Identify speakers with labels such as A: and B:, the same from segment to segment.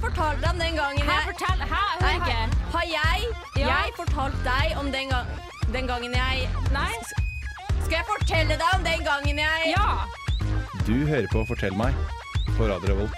A: fortalte deg om den gangen
B: Her,
A: jeg
B: fortell! Her,
A: Nei,
B: hør ikke!
A: har- Har jeg,
B: Ja.
A: jeg fortalt deg om den, gang, den gangen jeg
B: Nei?
A: Skal jeg fortelle deg om den gangen jeg
B: Ja!
C: Du hører på Fortell meg på Radio Revolt.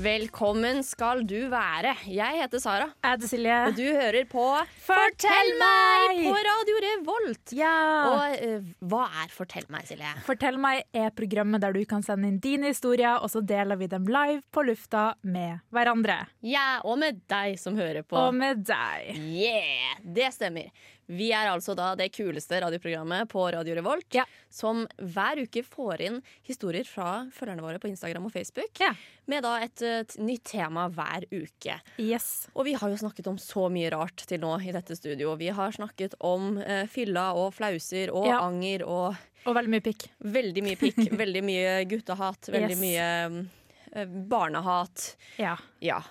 A: Velkommen skal du være. Jeg heter Sara,
B: Jeg heter Silje.
A: og du hører på
B: Fortell meg!
A: på Radio Revolt.
B: Ja!
A: Og eh, hva er Fortell meg, Silje?
B: Fortell meg er programmet der du kan sende inn dine historier, og så deler vi dem live på lufta med hverandre.
A: Ja, og med deg som hører på.
B: Og med deg.
A: Yeah! Det stemmer. Vi er altså da det kuleste radioprogrammet på Radio Revolt,
B: Ja.
A: som hver uke får inn historier fra følgerne våre på Instagram og Facebook,
B: Ja.
A: med da et, eh, t- nytt tema hver uke.
B: Yes.
A: Og vi har jo snakket om så mye rart til nå i dette studio. Vi har snakket om eh, fylla og flauser og
B: Ja.
A: anger og
B: Og veldig mye pikk.
A: veldig mye pikk, veldig mye guttehat, veldig
B: Yes.
A: mye mm, eh, barnehat.
B: Ja.
A: Ja.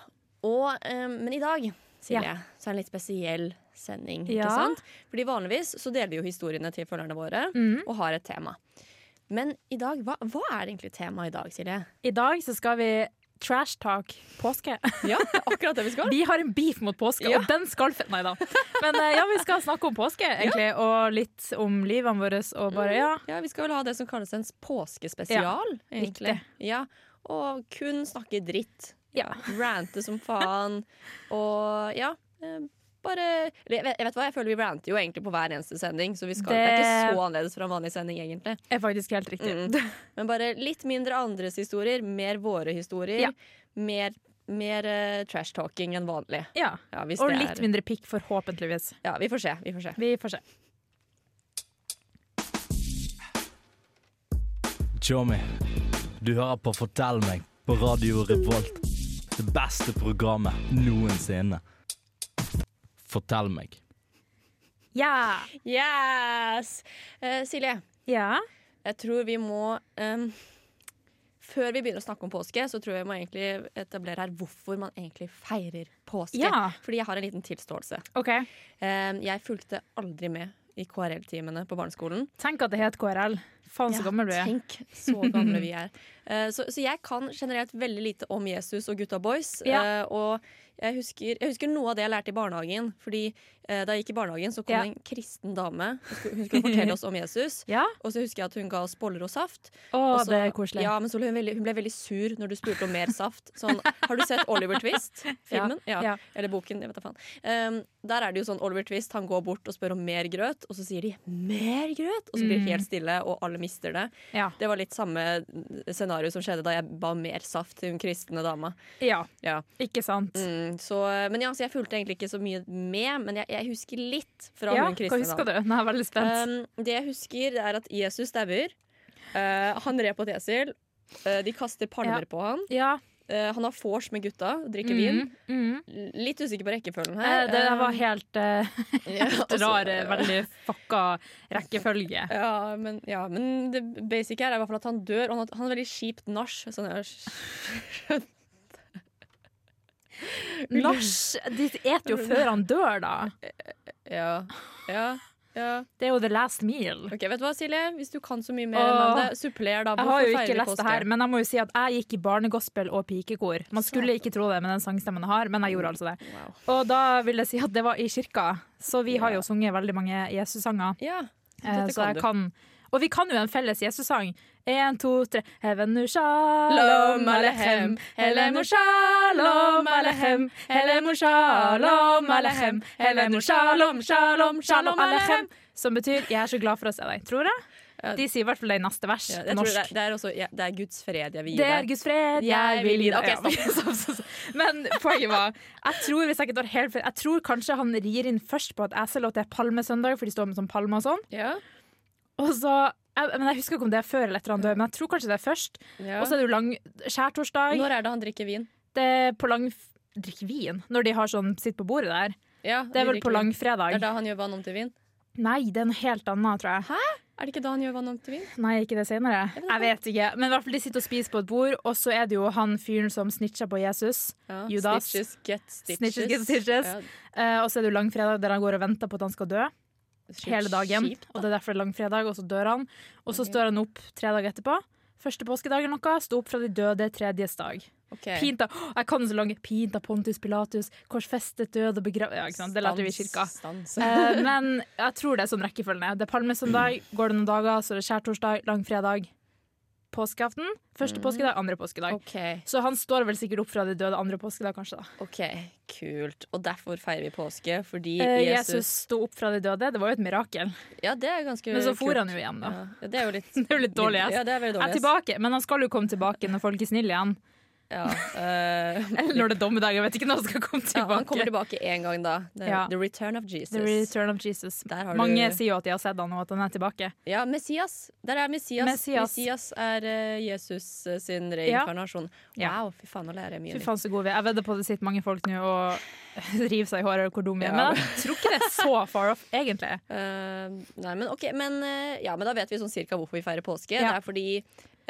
A: Og, eh, men i dag, Silje,
B: Ja.
A: så er det en litt spesiell sending.
B: Ja.
A: ikke sant? Fordi Vanligvis så deler vi jo historiene til følgerne våre
B: Mhm.
A: og har et tema. Men i dag, hva, hva er egentlig temaet i dag, Silje?
B: I dag så skal vi trash talk påske.
A: Ja, akkurat det vi skal.
B: Vi har en beef mot påske,
A: Ja.
B: og den skal fe- Nei da. Men eh, ja, vi skal snakke om påske, egentlig, og litt om livene våre, og bare ja.
A: Ja, Vi skal vel ha det som kalles en påskespesial. egentlig.
B: riktig.
A: Ja, Og kun snakke dritt. Rante som faen. Og ja. eh, Bare eller jeg vet, jeg vet hva, jeg føler vi ranter jo egentlig på hver eneste sending, så vi skal, det... er
B: Det-
A: ikke så annerledes fra en vanlig sending, egentlig.
B: Er faktisk helt
A: Mm.
B: riktig.
A: Men bare litt mindre andres historier, mer våre historier.
B: Ja.
A: Mer, mer eh, trash talking enn vanlig.
B: Ja.
A: Ja, hvis
B: Og
A: det
B: litt
A: er-
B: mindre pikk, forhåpentligvis.
A: Ja, vi får se. Vi får se.
B: Vi får se.
D: Tjommi, du hører på Fortell meg på Radio Revolt. Det beste programmet noensinne. Fortell meg.
B: Ja.
A: Yes! Eh, Silje,
B: Ja.
A: jeg tror vi må em, Før vi begynner å snakke om påske, så tror jeg vi må egentlig etablere her hvorfor man egentlig feirer påske.
B: Ja.
A: Fordi jeg har en liten tilståelse.
B: OK.
A: Em, jeg fulgte aldri med i KRL-timene på barneskolen.
B: Tenk at det het KRL. Faen, så
A: Ja,
B: gammel du er.
A: Tenk så gamle vi er. Eh, så, så jeg kan generelt veldig lite om Jesus og gutta boys.
B: Ja.
A: eh, og jeg husker, jeg husker noe av det jeg lærte i barnehagen. Fordi eh, Da jeg gikk i barnehagen, så kom
B: Ja.
A: det en kristen dame. Hun skulle, hun skulle fortelle oss om Jesus.
B: Ja?
A: Og så husker jeg at hun ga oss boller og saft.
B: Å,
A: Og så-
B: det er koselig.
A: Ja, men så ble hun, veldig, hun ble veldig sur når du spurte om mer saft. Sånn, har du sett Oliver Twist? Filmen? Ja.
B: Ja, ja.
A: Eller boken, jeg vet da faen. Um, der er det jo sånn Oliver Twist han går bort og spør om mer grøt, og så sier de 'mer grøt', og så blir det
B: Mm.
A: helt stille, og alle mister det.
B: Ja.
A: Det var litt samme mm, scenario som skjedde da jeg ba om mer saft til hun kristne dama.
B: ja.
A: Ja.
B: Ikke sant.
A: Mm, så, men ja, så jeg fulgte egentlig ikke så mye med, men jeg, jeg husker litt fra
B: Ja,
A: hun kristne
B: hva husker du? Nå er jeg veldig spent.
A: Um, det jeg husker, det er at Jesus dauer. Eh, han rer på et esel. Eh, de kaster palmer
B: Ja.
A: på han.
B: ja.
A: Eh, han har vors med gutta, drikker
B: Mm, mm.
A: vin. Litt usikker på rekkefølgen
B: Eh,
A: her.
B: Det der var
A: Eh,
B: helt eh,
A: ja, også-
B: rar, eh, veldig fucka rekkefølge.
A: Ja men, ja, men det basic her er i hvert fall at han dør, og han har, han har veldig kjipt nach. Sånn, jeg har skjønt.
B: Lars, de eter jo før han dør, da.
A: ja, ja, ja.
B: Det er jo the last meal.
A: Ok, vet du hva, Silje? Hvis du kan så mye mer
B: Åh.
A: enn det, suppler da.
B: Jeg har jo
A: Hvorfor
B: ikke
A: feirer vi
B: lest det her,
A: påske?
B: men jeg må jo si at jeg gikk i barnegospel og pikekor. Man skulle ikke tro det med den sangstemmen jeg har, men jeg gjorde altså det.
A: Wow.
B: Og da vil jeg si at det var i kirka, så vi har jo sunget veldig mange Jesus-sanger.
A: Ja,
B: Eh,
A: dette
B: Så
A: kan
B: jeg
A: du.
B: kan Og vi kan jo en felles Jesus-sang. Én, to, tre. Hevenu shalom
A: Shalom aleichem.
B: alehem. Helenu shalom alehem. Helenu shalom alehem. Helenu shalom, shalom, shalom alehem. Som betyr 'jeg er så glad for å se deg'. Tror jeg. De sier i hvert fall det i neste vers
A: Ja,
B: på
A: jeg tror det,
B: norsk.
A: er, det, er også, ja, det er Guds fred jeg vil gi
B: Det er
A: deg.
B: Guds fred, jeg vil gi deg
A: Ok, stopp.
B: Ja, stopp, stopp, stopp. Men poenget var Jeg tror hvis jeg ikke tar helt feil Jeg tror kanskje han rir inn først på at jeg ser at det er palmesøndag, for de står med sånn palme og sånn.
A: Ja,
B: Og så, jeg, men jeg husker ikke om det er før eller etter han dør, men jeg tror kanskje det er først.
A: ja.
B: Og så er det jo lang skjærtorsdag.
A: Når er det han drikker vin?
B: Det er på lang... Drikk vin når de har sånn sitt på bordet der.
A: Ja,
B: Det er
A: de
B: vel
A: drikker
B: på
A: vin. Det er
B: langfredag.
A: da han gjør vann om til vin?
B: Nei, det er en helt annen, tror jeg.
A: Er det ikke da han gjør vann om til vin?
B: Nei, ikke det senere. Jeg vet ikke. Men i hvert fall de sitter og spiser på et bord, og så er det jo han fyren som snitcha på Jesus.
A: Ja,
B: Judas.
A: Snitches get stitches.
B: Snitches get stitches.
A: Ja,
B: Eh, og så er det jo langfredag der han går og venter på at han skal dø
A: shit,
B: hele dagen.
A: kjipt,
B: Og det er derfor det er langfredag, og så dør han. Og så står han opp tre dager etterpå. Første påskedag eller noe. Sto opp fra de døde tredjes dag.
A: Ok.
B: Pinta Å, Jeg kan så lange. Pinta Pontus Pilatus, korsfestet død og begrav... Ja, ikke sant? Det lærte vi i kirka.
A: Stans.
B: Eh, men jeg tror det er sånn rekkefølgen er. Det er palmesøndag, går det noen dager, så er det skjærtorsdag, langfredag, påskeaften. Første påskedag, andre påskedag.
A: Mm. OK,
B: Så han står vel sikkert opp fra de døde andre påskedag, kanskje. da
A: ok, kult. Og derfor feirer vi påske, fordi
B: Eh, Jesus
A: Jesus
B: sto opp fra de døde, det var jo et mirakel.
A: Ja, det er ganske
B: Men så for
A: kult.
B: han jo igjen, da.
A: Ja, ja, det er jo litt
B: Det er jo litt dårlig. ass.
A: Ja, det er veldig
B: Jeg er
A: dårlig.
B: tilbake, men han skal jo komme tilbake når folk er snille igjen.
A: Ja, eh,
B: Eller når det er dommedag. Jeg vet ikke når han skal komme
A: ja,
B: tilbake.
A: han kommer tilbake én gang, da. The,
B: Ja.
A: the return of Jesus.
B: The Return of Jesus.
A: Der har
B: Mange
A: du
B: sier jo at de har sett han og at han er tilbake.
A: Ja, Messias. Der er Messias.
B: Messias.
A: Messias, er eh, Jesus eh, sin reinkarnasjon.
B: Ja.
A: Wow, fy faen, nå lærer jeg mye.
B: Fy
A: nytt.
B: faen, så gode vi er. Jeg vedder på at det sitter mange folk nå og river seg i håret over hvor dum vi er.
A: Ja.
B: Men jeg tror ikke det er så far off, egentlig.
A: Eh, nei, men ok, men, eh, ja, men da vet vi sånn cirka hvorfor vi feirer påske.
B: Ja.
A: Det er fordi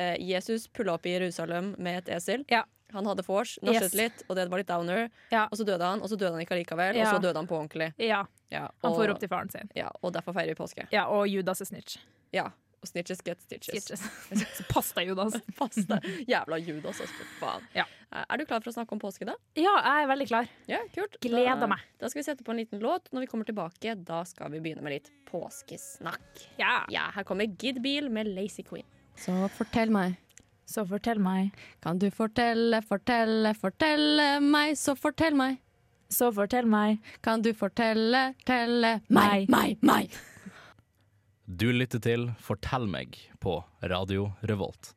A: eh, Jesus pulla opp i Jerusalem med et esel.
B: Ja.
A: Han hadde vors, nasjet
B: Yes.
A: litt, og det var litt downer.
B: Ja.
A: Og så døde han, og så døde han ikke allikevel,
B: Ja.
A: og så døde han på ordentlig.
B: Ja,
A: Ja,
B: Han
A: og,
B: får opp til faren sin.
A: ja, og derfor feirer vi påske.
B: Ja, Og Judas er snitch.
A: Ja. Og snitches get stitches.
B: Snitches. Så pass deg, Judas.
A: Pass deg. Jævla Judas, altså. fy Faen.
B: Ja.
A: Eh, Er du klar for å snakke om påske, da?
B: Ja, jeg er veldig klar.
A: Ja, kult.
B: Gleder
A: da,
B: meg.
A: Da skal vi sette på en liten låt. Når vi kommer tilbake, da skal vi begynne med litt påskesnakk.
B: Ja.
A: Ja, her kommer Gid Beal med Lazy Queen.
E: Så fortell meg,
B: Så fortell meg,
E: kan du fortelle, fortelle, fortelle meg, så fortell meg.
B: så fortell meg.
E: Kan du fortelle, telle
B: Meg.
E: meg, meg, meg.
D: Du lytter til Fortell meg på Radio Revolt.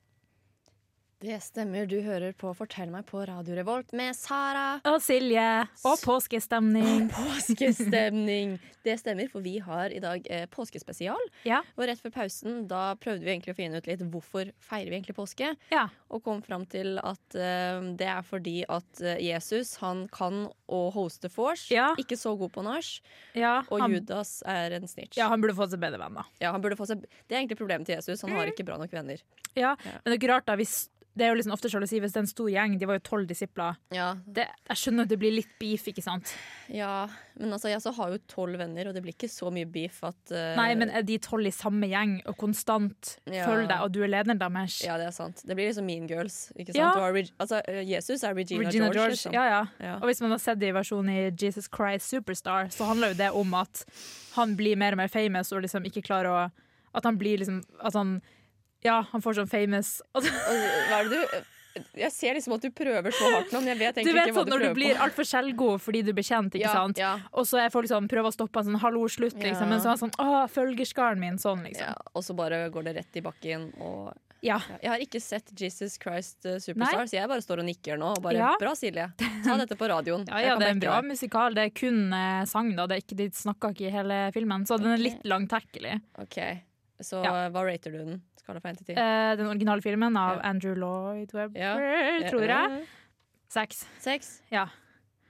A: Det stemmer, du hører på Fortell meg på Radio Revolt med Sara.
B: Og Silje. Og påskestemning.
A: Påskestemning! Det stemmer, for vi har i dag eh, påskespesial.
B: Ja.
A: Og rett før pausen da prøvde vi egentlig å finne ut litt hvorfor feirer vi egentlig påske.
B: ja.
A: og kom fram til at eh, det er fordi at eh, Jesus han kan å hoste vors,
B: Ja.
A: ikke så god på nach,
B: ja.
A: og
B: Han,
A: Judas er en snitch.
B: ja, han burde fått seg bedre venner.
A: Ja, han burde få seg, det er egentlig problemet til Jesus, han har ikke bra nok venner.
B: Ja,
A: Ja.
B: men det er ikke rart da hvis det er jo liksom ofte sjalusi hvis det er en stor gjeng. De var jo tolv disipler.
A: Ja,
B: Det, jeg skjønner at det blir litt beef, ikke sant?
A: ja. men altså, jeg så har jo tolv venner, og det blir ikke så mye beef at eh,
B: Nei, men er de tolv i samme gjeng og konstant
A: Ja.
B: følger deg, og du er lederen deres?
A: Ja, det er sant. Det blir liksom Mean Girls. Ikke sant?
B: Ja.
A: Du har Reg altså, eh, Jesus er Regina,
B: Regina George,
A: liksom.
B: ja, ja.
A: Ja.
B: Og hvis man har sett det i versjonen i Jesus Christ Superstar, så handler jo det om at han blir mer og mer famous og liksom ikke klarer å At han blir liksom At han Ja, han får sånn famous at,
A: Og, hva er det du Jeg ser liksom at du prøver så hardt nå, men jeg vet
B: Du
A: egentlig
B: vet
A: ikke hva
B: sånn
A: du
B: når
A: prøver
B: du blir altfor selvgod fordi du blir kjent, ikke
A: Ja,
B: sant?
A: ja.
B: Og så er folk sånn, prøver å stoppe han sånn 'hallo, slutt',
A: Ja.
B: liksom. Men så er han sånn 'å, følgerskaren min', sånn,
A: på. Ja,
B: liksom.
A: og så bare går det rett i bakken, og
B: Ja.
A: Ja, Jeg har ikke sett Jesus Christ eh, Superstar,
B: Nei.
A: så jeg bare står og nikker nå. Og bare,
B: Ja.
A: Bra, Silje. Ta dette på radioen.
B: Ja,
A: Jeg
B: ja,
A: kan
B: det er en
A: backe
B: bra
A: deg.
B: musikal. Det er kun eh, sang, da. Det er ikke, de snakka ikke i hele filmen, så den er litt langtekkelig.
A: Ok, Så
B: Ja.
A: eh, hva rater du den? Skala fra 1 til 10?
B: Eh, den originale filmen av
A: Ja.
B: Andrew Lloyd Webber,
A: Ja.
B: tror jeg. Seks.
A: Eh, Seks?
B: Ja.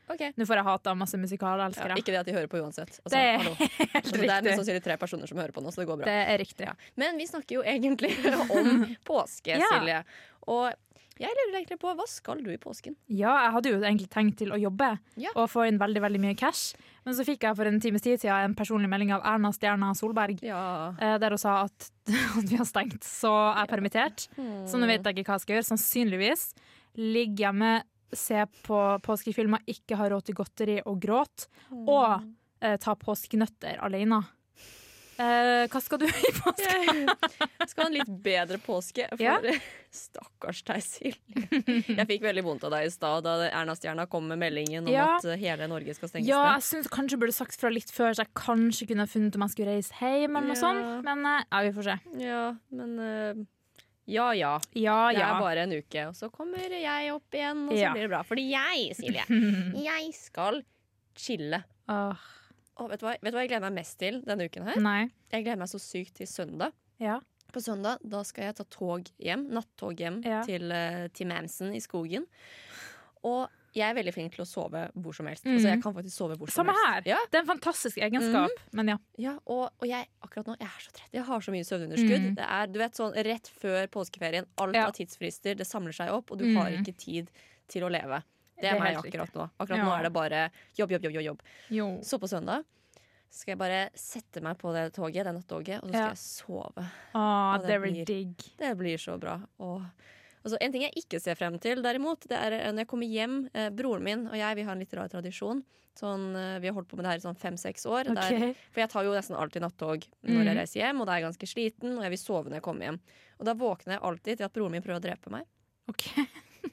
A: Ok.
B: Nå får jeg hate av masse
A: Ja,
B: musikalelskere.
A: ikke det at de hører på uansett. Altså,
B: det er
A: hallo.
B: helt
A: Altså, det er mest
B: riktig.
A: sannsynlig tre personer som hører på nå, så det går bra.
B: Det er riktig.
A: Ja. Men vi snakker jo egentlig om påske,
B: Ja.
A: Silje. Og jeg lurer egentlig på hva skal du i påsken?
B: Ja, jeg hadde jo egentlig tenkt til å jobbe
A: Ja.
B: og få inn veldig veldig mye cash, men så fikk jeg for en times tid siden en personlig melding av Erna Stjerna Solberg.
A: Ja.
B: eh, Der hun sa at, at vi har stengt, så jeg er permittert.
A: Hmm.
B: Så nå vet jeg ikke hva jeg skal gjøre. Sannsynligvis ligger hjemme, ser på påskefilmer, ikke har råd til godteri og gråt.
A: Hmm.
B: Og eh, ta påskenøtter alene. Eh, hva skal du i påske?
A: Skal ha en litt bedre påske. For
B: Ja.
A: stakkars deg, Silje. Jeg fikk veldig vondt av deg i stad da Erna Stjerna kom med meldingen om
B: Ja.
A: at eh, hele Norge skal stenges
B: Ja,
A: ned.
B: jeg synes kanskje jeg burde sagt fra litt før, så jeg kanskje kunne ha funnet om jeg skulle reise hjem eller noe
A: Ja.
B: sånt. Men eh, ja, vi får se.
A: Ja, men eh, Ja ja.
B: Ja,
A: Det
B: ja.
A: er bare en uke, og så kommer jeg opp igjen, og så
B: Ja.
A: blir det bra. Fordi jeg, Silje, jeg skal chille.
B: Åh,
A: Og vet du, hva, vet du hva jeg gleder meg mest til denne uken her?
B: nei.
A: Jeg gleder meg så sykt til søndag.
B: Ja.
A: På søndag da skal jeg ta tog hjem, nattog hjem
B: Ja.
A: til, eh, til Mamsen i skogen. Og jeg er veldig flink til å sove hvor som helst.
B: Mhm.
A: Altså, jeg kan faktisk sove hvor som
B: Samme
A: helst.
B: her.
A: Ja,
B: Det er en fantastisk egenskap.
A: Mhm.
B: Men ja.
A: ja, og, og jeg akkurat nå jeg er så trett. Jeg har så mye søvnunderskudd.
B: Mhm.
A: Det er du vet, sånn rett før påskeferien. Alt
B: Ja.
A: av tidsfrister. Det samler seg opp, og du
B: Mhm.
A: har ikke tid til å leve. Det er,
B: Det er
A: meg
B: helt
A: akkurat nå. Akkurat nå
B: Ja.
A: er det bare jobb, jobb, jobb. jobb, jobb.
B: Jo.
A: Så på søndag skal jeg bare sette meg på det toget, det nattoget, og så skal
B: Ja.
A: jeg sove.
B: Åh,
A: det
B: det blir
A: blir-
B: digg.
A: Det blir så bra. Og Og så En ting jeg ikke ser frem til, derimot, det er eh, når jeg kommer hjem eh, Broren min og jeg vi har en litt rar tradisjon. Sånn, eh, vi har holdt på med det her i sånn fem-seks år. Det er-
B: Ok.
A: for jeg tar jo nesten alltid nattog når jeg reiser hjem, og da er jeg ganske sliten, og jeg vil sove når jeg kommer hjem. Og da våkner jeg alltid til at broren min prøver å drepe meg.
B: Ok.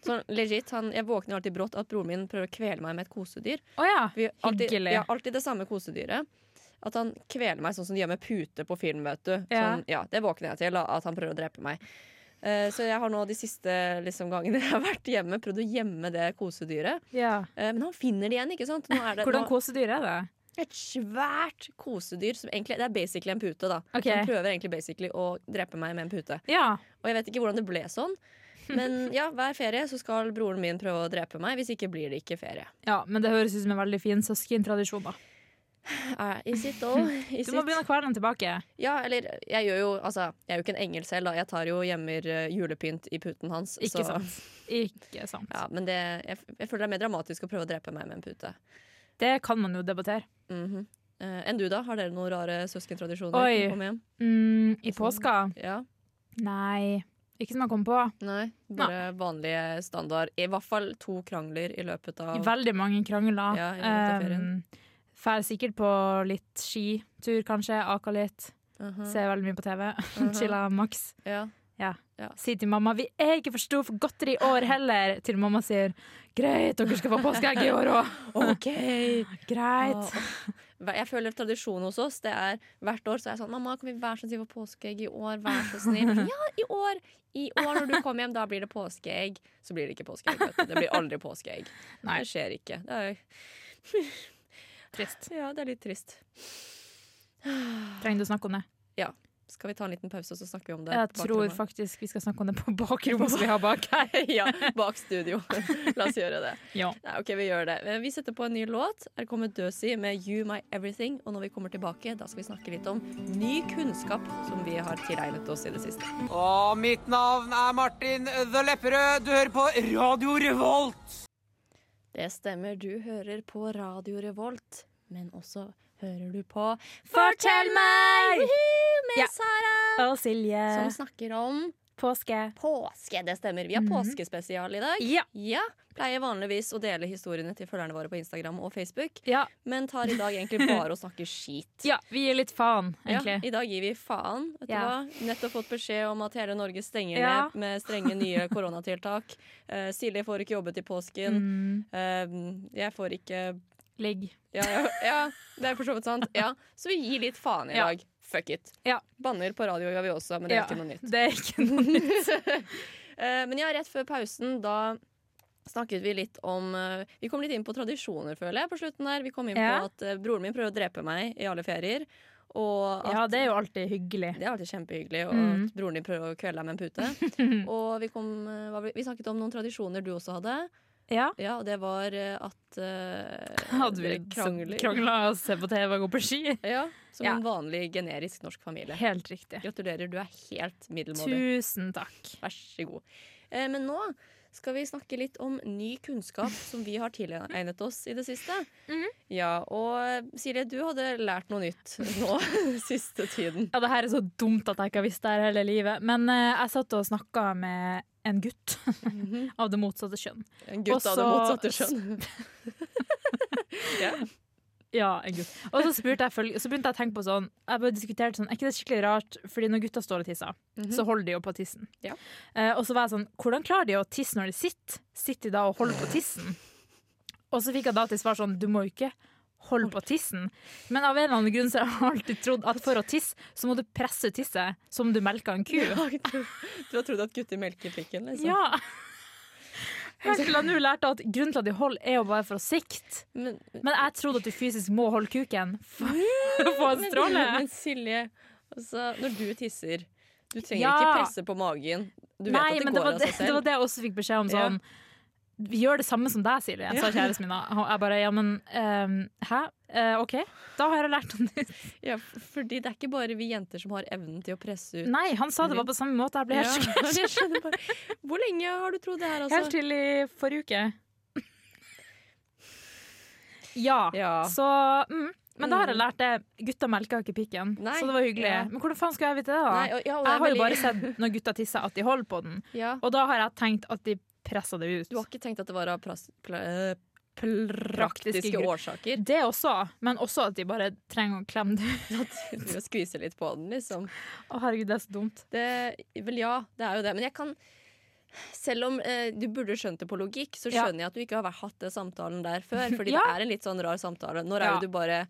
A: Sånn legit, han, Jeg våkner alltid brått at broren min prøver å kvele meg med et kosedyr.
B: Å ja.
A: Vi har alltid,
B: Hyggelig.
A: vi har alltid det samme kosedyret. At han kveler meg sånn som de gjør med pute på film, vet du.
B: Ja.
A: Sånn, ja, det våkner jeg til, da, at han prøver å drepe meg. Eh, så jeg har nå de siste liksom, gangene jeg har vært hjemme, prøvd å gjemme det kosedyret.
B: ja.
A: Eh, men han finner det igjen, ikke sant? Nå er det,
B: Hvordan
A: nå-
B: kosedyr er det?
A: et svært kosedyr som egentlig Det er basically en pute, da.
B: Ok.
A: Som prøver egentlig basically å drepe meg med en pute.
B: Ja.
A: Og jeg vet ikke hvordan det ble sånn. Men ja, hver ferie så skal broren min prøve å drepe meg. Hvis ikke blir det ikke ferie.
B: ja, men det høres ut som en veldig fin søskentradisjon, da.
A: Eh, Is it all? Is
B: Du må
A: it-
B: begynne å kvele den tilbake.
A: Ja, eller jeg gjør jo Altså, jeg er jo ikke en engel selv, da. Jeg tar jo gjemmer eh, julepynt i puten hans. så-
B: Ikke sant. Ikke sant.
A: Ja, men det, jeg, jeg føler det er mer dramatisk å prøve å drepe meg med en pute.
B: Det kan man jo debattere.
A: Mhm. Eh, enn du, da? Har dere noen rare søskentradisjoner?
B: Oi.
A: Kom igjen.
B: Mm, I
A: Sånn.
B: påska?
A: Ja.
B: Nei. Ikke som jeg kom på.
A: Nei, bare vanlige standard. I hvert fall to krangler i løpet av
B: Veldig mange krangler.
A: Ja, i vinterferien.
B: Um, Fær sikkert på litt skitur, kanskje. Aka litt.
A: Mhm,
B: Ser veldig mye på TV.
A: mhm.
B: Chilla maks.
A: Ja.
B: Si til mamma vi er ikke for stor for godteri i år heller. Til mamma sier greit, dere skal få påskeegg i år òg.
A: OK!
B: Greit.
A: Jeg føler tradisjon hos oss det er hvert år så er jeg sånn Mamma, kan vi være så snill få påskeegg i år? Vær så snill. Ja, i år! I år når du kommer hjem, da blir det påskeegg. Så blir det ikke påskeegg. vet du. Det blir aldri påskeegg.
B: Nei.
A: Det skjer ikke. Det er,
B: Trist.
A: ja, det er litt trist.
B: Trenger du å snakke om det?
A: Skal vi ta en liten pause, og så snakker vi om det?
B: Jeg
A: på
B: tror
A: bakrommet?
B: faktisk vi skal snakke om det på bakrommet som vi har bak her.
A: ja, bak studio. La oss gjøre det.
B: Ja.
A: Nei, ok, Vi gjør det. Men Vi setter på en ny låt. Her kommer Døsi med 'You My Everything'. Og når vi kommer tilbake, da skal vi snakke litt om ny kunnskap som vi har tilegnet oss i det siste.
F: Og mitt navn er Martin The Lepperød. Du hører på Radio Revolt.
A: Det stemmer, du hører på Radio Revolt, men også hører du på Fortell meg! Woohoo, med
B: Ja.
A: Sara,
B: Og Silje.
A: som snakker om
B: Påske.
A: påske. Det stemmer. Vi har påskespesial i dag.
B: Ja.
A: Mhm. Ja, Pleier vanligvis å dele historiene til følgerne våre på Instagram og Facebook,
B: Ja.
A: men tar i dag egentlig bare å snakke skit.
B: ja. Vi gir litt faen,
A: Ja,
B: egentlig.
A: I dag gir vi faen. Vet
B: Ja.
A: du hva? Nettopp fått beskjed om at hele Norge stenger
B: Ja.
A: ned med strenge nye koronatiltak. Eh, Silje får ikke jobbet i påsken.
B: Mm,
A: Eh, jeg får ikke
B: ligg.
A: ja, ja, ja, det er for så vidt sant. Ja. Så vi gir litt faen i
B: Ja.
A: dag. Fuck it.
B: Ja.
A: Banner på radio gjør vi også, men det er
B: Ja,
A: ikke noe nytt.
B: Det er ikke noe
A: Eh, men ja, rett før pausen, da snakket vi litt om eh, Vi kom litt inn på tradisjoner, føler jeg, på slutten der. Vi kom inn
B: Ja.
A: på at eh, broren min prøver å drepe meg i alle ferier. Og at
B: Ja, det er jo alltid hyggelig.
A: Det er alltid kjempehyggelig og
B: Mm.
A: at broren din prøver å kvele deg med en pute. og vi, kom, eh, hva var det- vi snakket om noen tradisjoner du også hadde.
B: Ja.
A: Ja, og det var eh, at eh,
B: Hadde vi
A: dere krangler.
B: krangla og se på TV og gå på ski?
A: Ja, som
B: Ja.
A: en vanlig generisk norsk familie.
B: Helt riktig.
A: Gratulerer, du er helt middelmådig.
B: Tusen takk.
A: Vær så god. Eh, men nå skal vi snakke litt om ny kunnskap som vi har tilegnet oss i det siste.
B: Mm-hmm.
A: Ja, og eh, Silje, du hadde lært noe nytt nå siste tiden.
B: Ja, det her er så dumt at jeg ikke har visst det her hele livet. Men eh, jeg satt og snakka med en gutt av det motsatte kjønn.
A: En gutt av det
B: Også-
A: motsatte skjønn. ja.
B: Ja, en gutt. Og så, spurte jeg følge- så begynte jeg å tenke på sånn Jeg bare diskuterte sånn, Er ikke det skikkelig rart? Fordi når gutter står og tisser, så holder de jo på tissen.
A: Mhm. Ja.
B: Eh, og så var jeg sånn Hvordan klarer de å tisse når de sitter? Sitter de da og holder på tissen? Og så fikk jeg da til svar sånn Du må jo ikke holde på tissen. Men av en eller annen grunn så har jeg alltid trodd at for å tisse, så må du presse tisset som du melker en ku.
A: Ja, du, du har trodd at gutter melker pikken, liksom?
B: Ja. Helt til jeg nå lærte at grunnen til at de holder, er jo bare for å sikte.
A: Men,
B: Men jeg trodde at du fysisk må holde kuken for å få en
A: men,
B: stråle.
A: men Silje, altså, når du tisser Du trenger
B: Ja.
A: ikke presse på magen. Du vet
B: Nei,
A: at det
B: men det
A: går
B: var
A: av
B: det,
A: seg
B: det
A: selv.
B: var det jeg også fikk beskjed om.
A: Ja.
B: Sånn, Vi gjør det samme som deg, Silje, sa kjæresten min. da. Og Jeg bare ja, men ehm, hæ? Eh, OK, da har jeg lært om det.
A: Ja, f- fordi det er ikke bare vi jenter som har evnen til å presse ut.
B: Nei, han sa det var på samme måte. Jeg ble
A: Ja,
B: helt sjokkert.
A: jeg skjønner bare. Hvor lenge har du trodd det her,
B: Helt
A: altså?
B: til i forrige uke. Ja.
A: Ja.
B: Så mm, Men da har jeg lært det. Gutta melker ikke pikken.
A: Nei.
B: Så det var hyggelig.
A: Ja.
B: Men hvordan faen skal jeg vite det, da?
A: Nei, og- ja, og det er
B: jeg har jo
A: veldig-
B: bare sett når gutta tisser, at de holder på den.
A: Ja.
B: Og da har jeg tenkt at de presser det ut.
A: Du har ikke tenkt at det var av pras, pla- eh, praktiske,
B: Praktiske grunn-
A: årsaker?
B: Det også, men også at de bare trenger å klemme det ut.
A: Til å skvise litt på den, liksom.
B: Å, herregud, det er så dumt.
A: Det, vel, ja, det er jo det. Men jeg kan Selv om eh, du burde skjønt det på logikk, så
B: Ja.
A: skjønner jeg at du ikke har vært- hatt den samtalen der før. Fordi
B: Ja.
A: det er en litt sånn rar samtale. Når er
B: Ja.
A: jo du bare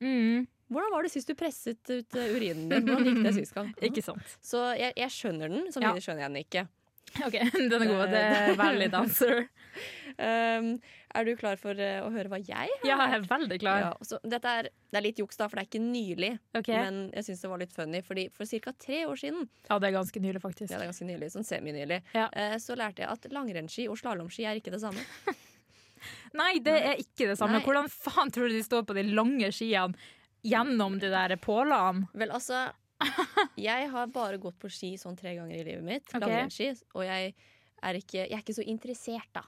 B: Mm,
A: Hvordan var det sist du presset ut eh, urinen din? Hvordan gikk det sist gang?
B: ikke sant.
A: Så jeg, jeg skjønner den, samtidig skjønner jeg den ikke.
B: OK, den er god. Det er valid answer.
A: Um, er du klar for eh, å høre hva jeg har?
B: Ja, jeg er veldig klar.
A: Ja, så dette er, det er litt juks, da, for det er ikke nylig.
B: Ok.
A: Men jeg syns det var litt funny, fordi for ca. tre år siden
B: Ja, det er ganske nylig, faktisk.
A: ja, det er ganske nylig, sånn seminylig,
B: Ja.
A: eh, så lærte jeg at langrennsski og slalåmski er ikke det samme.
B: Nei, det er ikke det samme.
A: Nei.
B: Hvordan faen tror du de står på de lange skiene gjennom de der pålene?
A: Vel, altså Jeg har bare gått på ski sånn tre ganger i livet mitt.
B: Ok.
A: Langrennsski. Og jeg er, ikke, jeg er ikke så interessert, da.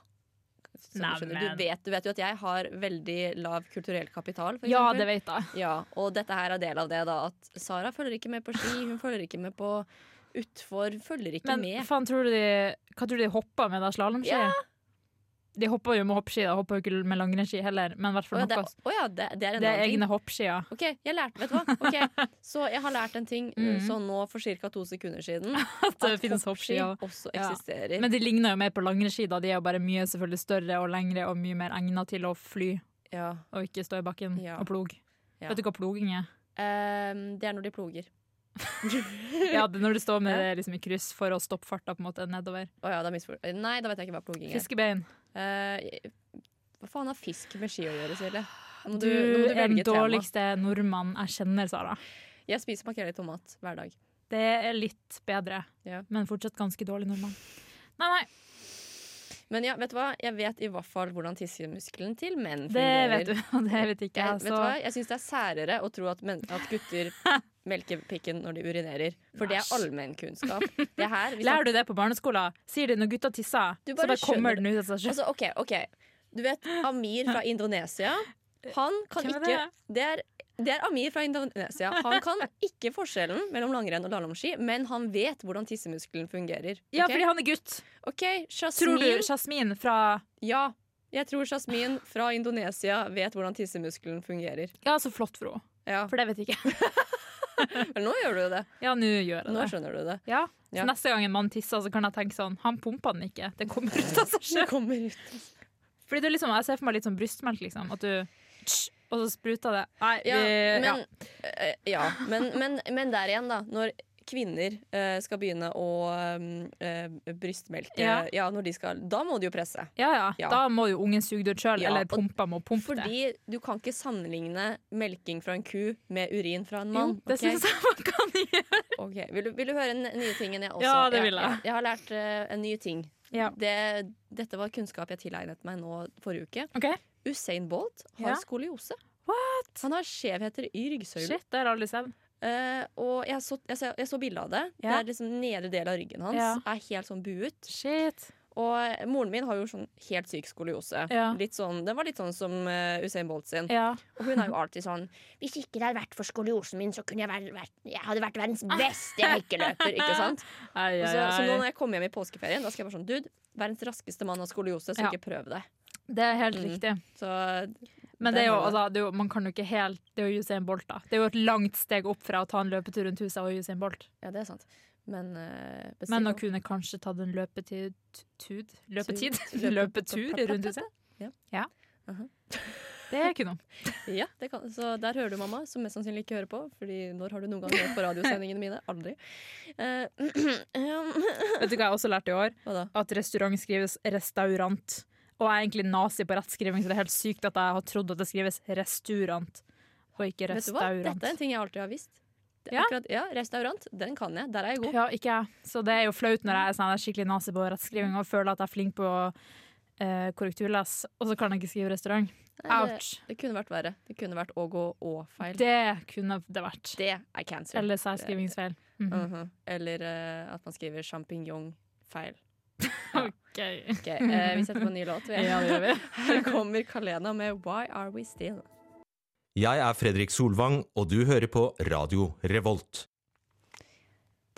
A: Som du, skjønner.
B: Neimen.
A: du, vet, du vet jo at jeg har veldig lav kulturell kapital. For
B: Ja,
A: eksempel.
B: det vet jeg.
A: Ja, og dette her er del av det, da. At Sara følger ikke med på ski, hun følger ikke med på utfor, følger ikke
B: Men
A: med.
B: faen, tror du de, hva tror du de hopper med da? Slalåmski?
A: Ja.
B: De hopper jo med hoppski, da. Hopper jo ikke med langrennsski heller, men i
A: Å
B: hvert fall
A: ja, det,
B: noe.
A: å ja, det, det er en
B: altså. Det er
A: annen ting.
B: egne hoppskier.
A: OK, jeg lærte, vet du hva. Ok, Så jeg har lært en ting
B: Mm.
A: sånn nå for ca. to sekunder siden.
B: At det finnes hoppskier.
A: også
B: Ja.
A: eksisterer.
B: Men de ligner jo mer på langrennsski, da. De er jo bare mye selvfølgelig større og lengre og mye mer egna til å fly
A: ja.
B: og ikke stå i bakken
A: Ja.
B: og plog.
A: Ja.
B: Vet du hva ploging er?
A: Ehm, det er når de ploger.
B: Ja, det er når du står med det liksom i kryss for å stoppe farta på en måte nedover.
A: Å ja, da misfor... Nei, da vet jeg ikke hva ploging er.
B: Fiskebein.
A: Eh, hva faen har fisk med ski å gjøre, Silje? Nå må
B: Du,
A: nå må
B: er den
A: velge tema.
B: dårligste nordmannen jeg kjenner, Sara.
A: Jeg spiser makrell i tomat hver dag.
B: Det er litt bedre,
A: Ja.
B: men fortsatt ganske dårlig nordmann. Nei, nei,
A: Men ja, vet du hva? Jeg vet i hvert fall hvordan tissemuskelen til menn
B: det
A: fungerer.
B: vet du, og det vet ikke
A: Jeg,
B: jeg.
A: vet du
B: Så
A: hva? Jeg syns det er særere å tro at, men, at gutter melker pikken når de urinerer. For det er
B: Æsj.
A: allmennkunnskap. Det her hvis
B: lærer du det på barneskolen? Sier de når gutta tisser,
A: Du
B: så
A: bare
B: bare kommer
A: skjønner
B: den ut av seg sjøl.
A: Altså, OK, OK. Du vet Amir fra Indonesia? Han kan
B: Hvem er
A: ikke det er, det er Amir fra Indonesia. Han kan ikke forskjellen mellom langrenn og lalomski, men han vet hvordan tissemuskelen fungerer.
B: Ja,
A: Ok?
B: fordi han er gutt.
A: OK,
B: Tror du
A: Jasmin
B: Jasmin fra
A: Ja. Jeg tror Jasmin fra Indonesia vet hvordan tissemuskelen fungerer.
B: Ja, så flott for henne.
A: Ja,
B: For det vet jeg ikke.
A: Men nå gjør du det.
B: Ja, nå gjør
A: Nå
B: jeg det.
A: skjønner du det.
B: Ja.
A: Ja.
B: Så neste gang en mann tisser, så kan jeg tenke sånn Han pumpa den ikke. Den kommer ut av seg
A: Det
B: sjøl.
A: kommer ut.
B: Fordi det er liksom, jeg ser for meg litt sånn brystmelk, liksom. At du tsj, Og så spruter det. Nei,
A: Ja,
B: vi, ja.
A: men, eh, ja. Men, men, men der igjen, da. Når kvinner eh, skal begynne å eh, brystmelke ja.
B: Ja.
A: når de skal, Da må de jo presse.
B: Ja, ja.
A: Ja.
B: Da må jo ungen suge det ut sjøl,
A: Ja,
B: eller
A: og-
B: pumpa må pumpe det.
A: Fordi du kan ikke sammenligne melking fra en ku med urin fra en mann.
B: Jo, det
A: ok?
B: synes jeg man kan gjøre.
A: Ok, Vil, du, vil du høre en ny ting enn jeg også?
B: Ja, det vil jeg.
A: Jeg, har lært eh, en ny ting.
B: Ja.
A: Det, dette var kunnskap jeg tilegnet meg nå forrige uke.
B: Ok,
A: Usain Bolt har
B: Ja.
A: skoliose. Han har skjevheter i ryggsøylen.
B: Shit, det har jeg aldri sett.
A: Eh, og jeg så, jeg, så, jeg så bildet av det.
B: Ja.
A: Det er liksom Nedre del av ryggen hans
B: Ja.
A: er helt sånn buet.
B: Shit.
A: Og moren min har jo sånn helt syk skoliose.
B: Ja.
A: Litt sånn, den var litt sånn som eh, Usain Bolt sin.
B: Ja.
A: Og hun er jo alltid sånn
G: Hvis ikke det hadde vært for skoliosen min, så kunne jeg, vært, vært, jeg hadde vært verdens
B: Ah.
G: beste hekkeløper.
A: Ikke sant?
B: Ai,
A: Og
B: ai,
A: Så, så nå
B: ai.
A: når jeg kommer hjem i påskeferien, da skal jeg bare sånn Dude, verdens raskeste mann har skoliose, så
B: Ja.
A: ikke prøv det.
B: Det er helt
A: Mm.
B: riktig.
A: Så
B: Men det er, jo,
A: har du
B: altså, det er jo, man kan jo ikke helt Det er jo Usain Bolt, da. Det er jo et langt steg opp fra å ta en løpetur rundt huset og Usain Bolt.
A: Ja, det er sant. Men eh, bestill
B: Men å
A: noe.
B: kunne kanskje tatt en løpetid tud, Løpetid?
A: Tud.
B: Løpetur rundt
A: Ja.
B: huset? Ja.
A: Mhm.
B: Det kunne hun.
A: Ja, det kan, så der hører du mamma, som mest sannsynlig ikke hører på. Fordi når har du noen gang hørt på radiosendingene mine? Aldri. Eh,
B: Vet du hva jeg også lærte i år?
A: hva da?
B: At restaurant skrives restaurant. Og jeg er egentlig nazi på rettskriving, så det er helt sykt at jeg har trodd at det skrives restaurant. Og ikke
A: Vet du hva? Dette er en
B: restaurant.
A: ting jeg alltid har visst. Det er
B: Ja.
A: Akkurat, ja, restaurant, den kan jeg. Der er jeg god.
B: Ja, ikke jeg. Så det er jo flaut når jeg er sånn, jeg er skikkelig nazi på rettskriving og føler at jeg er flink på eh, korrekturles, og så kan jeg ikke skrive restaurant.
A: Nei, det-
B: Ouch.
A: Det kunne vært verre. Det kunne vært å gå og feil. Det,
B: Det kunne det vært.
A: er cancer.
B: Eller særskrivingsfeil. Mhm.
A: Mhm. Eller eh, at man skriver sjampinjong feil.
B: Ok.
A: Ok, eh, vi setter på en ny låt. vi.
B: Ja, det gjør vi.
A: Her kommer Kalena med 'Why Are We Still'.
H: Jeg er Fredrik Solvang, og du hører på Radio Revolt.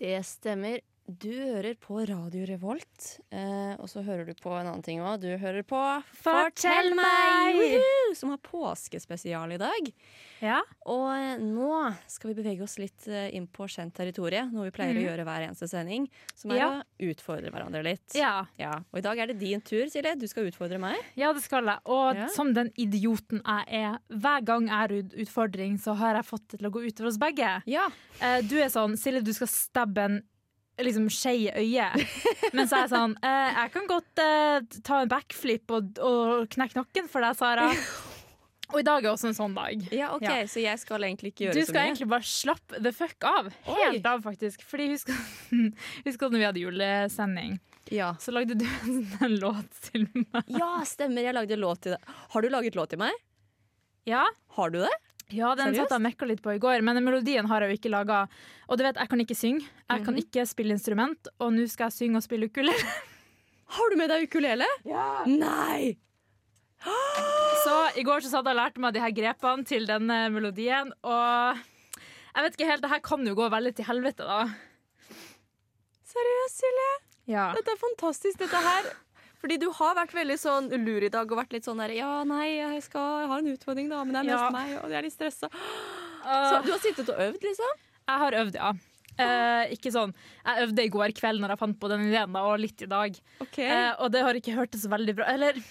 A: Det stemmer. Du hører på Radio Revolt, eh, og så hører du på en annen ting òg. Du hører på
B: Fortell meg!
A: Woohoo! som har påskespesial i dag.
B: Ja.
A: Og eh, nå skal vi bevege oss litt eh, inn på kjent territorium, noe vi pleier å gjøre hver eneste sending, som er
B: Mhm. Ja.
A: å utfordre hverandre litt.
B: Ja.
A: Ja, Og i dag er det din tur, Silje. Du skal utfordre meg.
B: ja, det skal jeg. Og
A: Ja.
B: som den idioten jeg er, hver gang jeg har ut- utfordring, så har jeg fått det til å gå utover oss begge.
A: Ja.
B: Eh, Du er sånn, Silje, du skal stabbe en liksom, skje i øyet. Men så er jeg sånn, eh, jeg kan godt eh, ta en backflip og, og knekke noen for deg, Sara. Og i dag er også en sånn dag.
A: ja, OK,
B: Ja.
A: så jeg skal egentlig ikke gjøre
B: Du
A: så
B: skal
A: mye.
B: egentlig bare slappe the fuck av. Helt av, faktisk. Fordi husk, husk at når vi hadde julesending,
A: Ja.
B: så lagde du en sånn låt til meg.
A: ja, stemmer. Jeg lagde låt til deg. Har du laget låt til meg?
B: Ja,
A: Har du det?
B: Ja, den
A: Seriøst?
B: satt jeg og mekka litt på i går, men melodien har jeg jo ikke laga. Og du vet, jeg kan ikke synge, jeg kan ikke spille instrument, og nå skal jeg synge og spille ukulele.
A: Har du med deg ukulele? Ja! Nei!
B: Så i går så satt jeg og lærte meg de her grepene til denne melodien, og jeg vet ikke helt, det her kan jo gå veldig til helvete, da.
A: Seriøst, Silje?
B: Ja.
A: Dette er fantastisk, dette her. Fordi du har vært veldig sånn lur i dag og vært litt sånn der Ja, nei, jeg skal jeg har en utfordring, da, men det er mest
B: Ja.
A: meg, og jeg er litt stressa. Så du har sittet og øvd, liksom?
B: Jeg har øvd, ja. Eh, ikke sånn. Jeg øvde i går kveld når jeg fant på den ideen, da, og litt i dag.
A: OK.
B: Eh, og det har ikke hørtes så veldig bra Eller jeg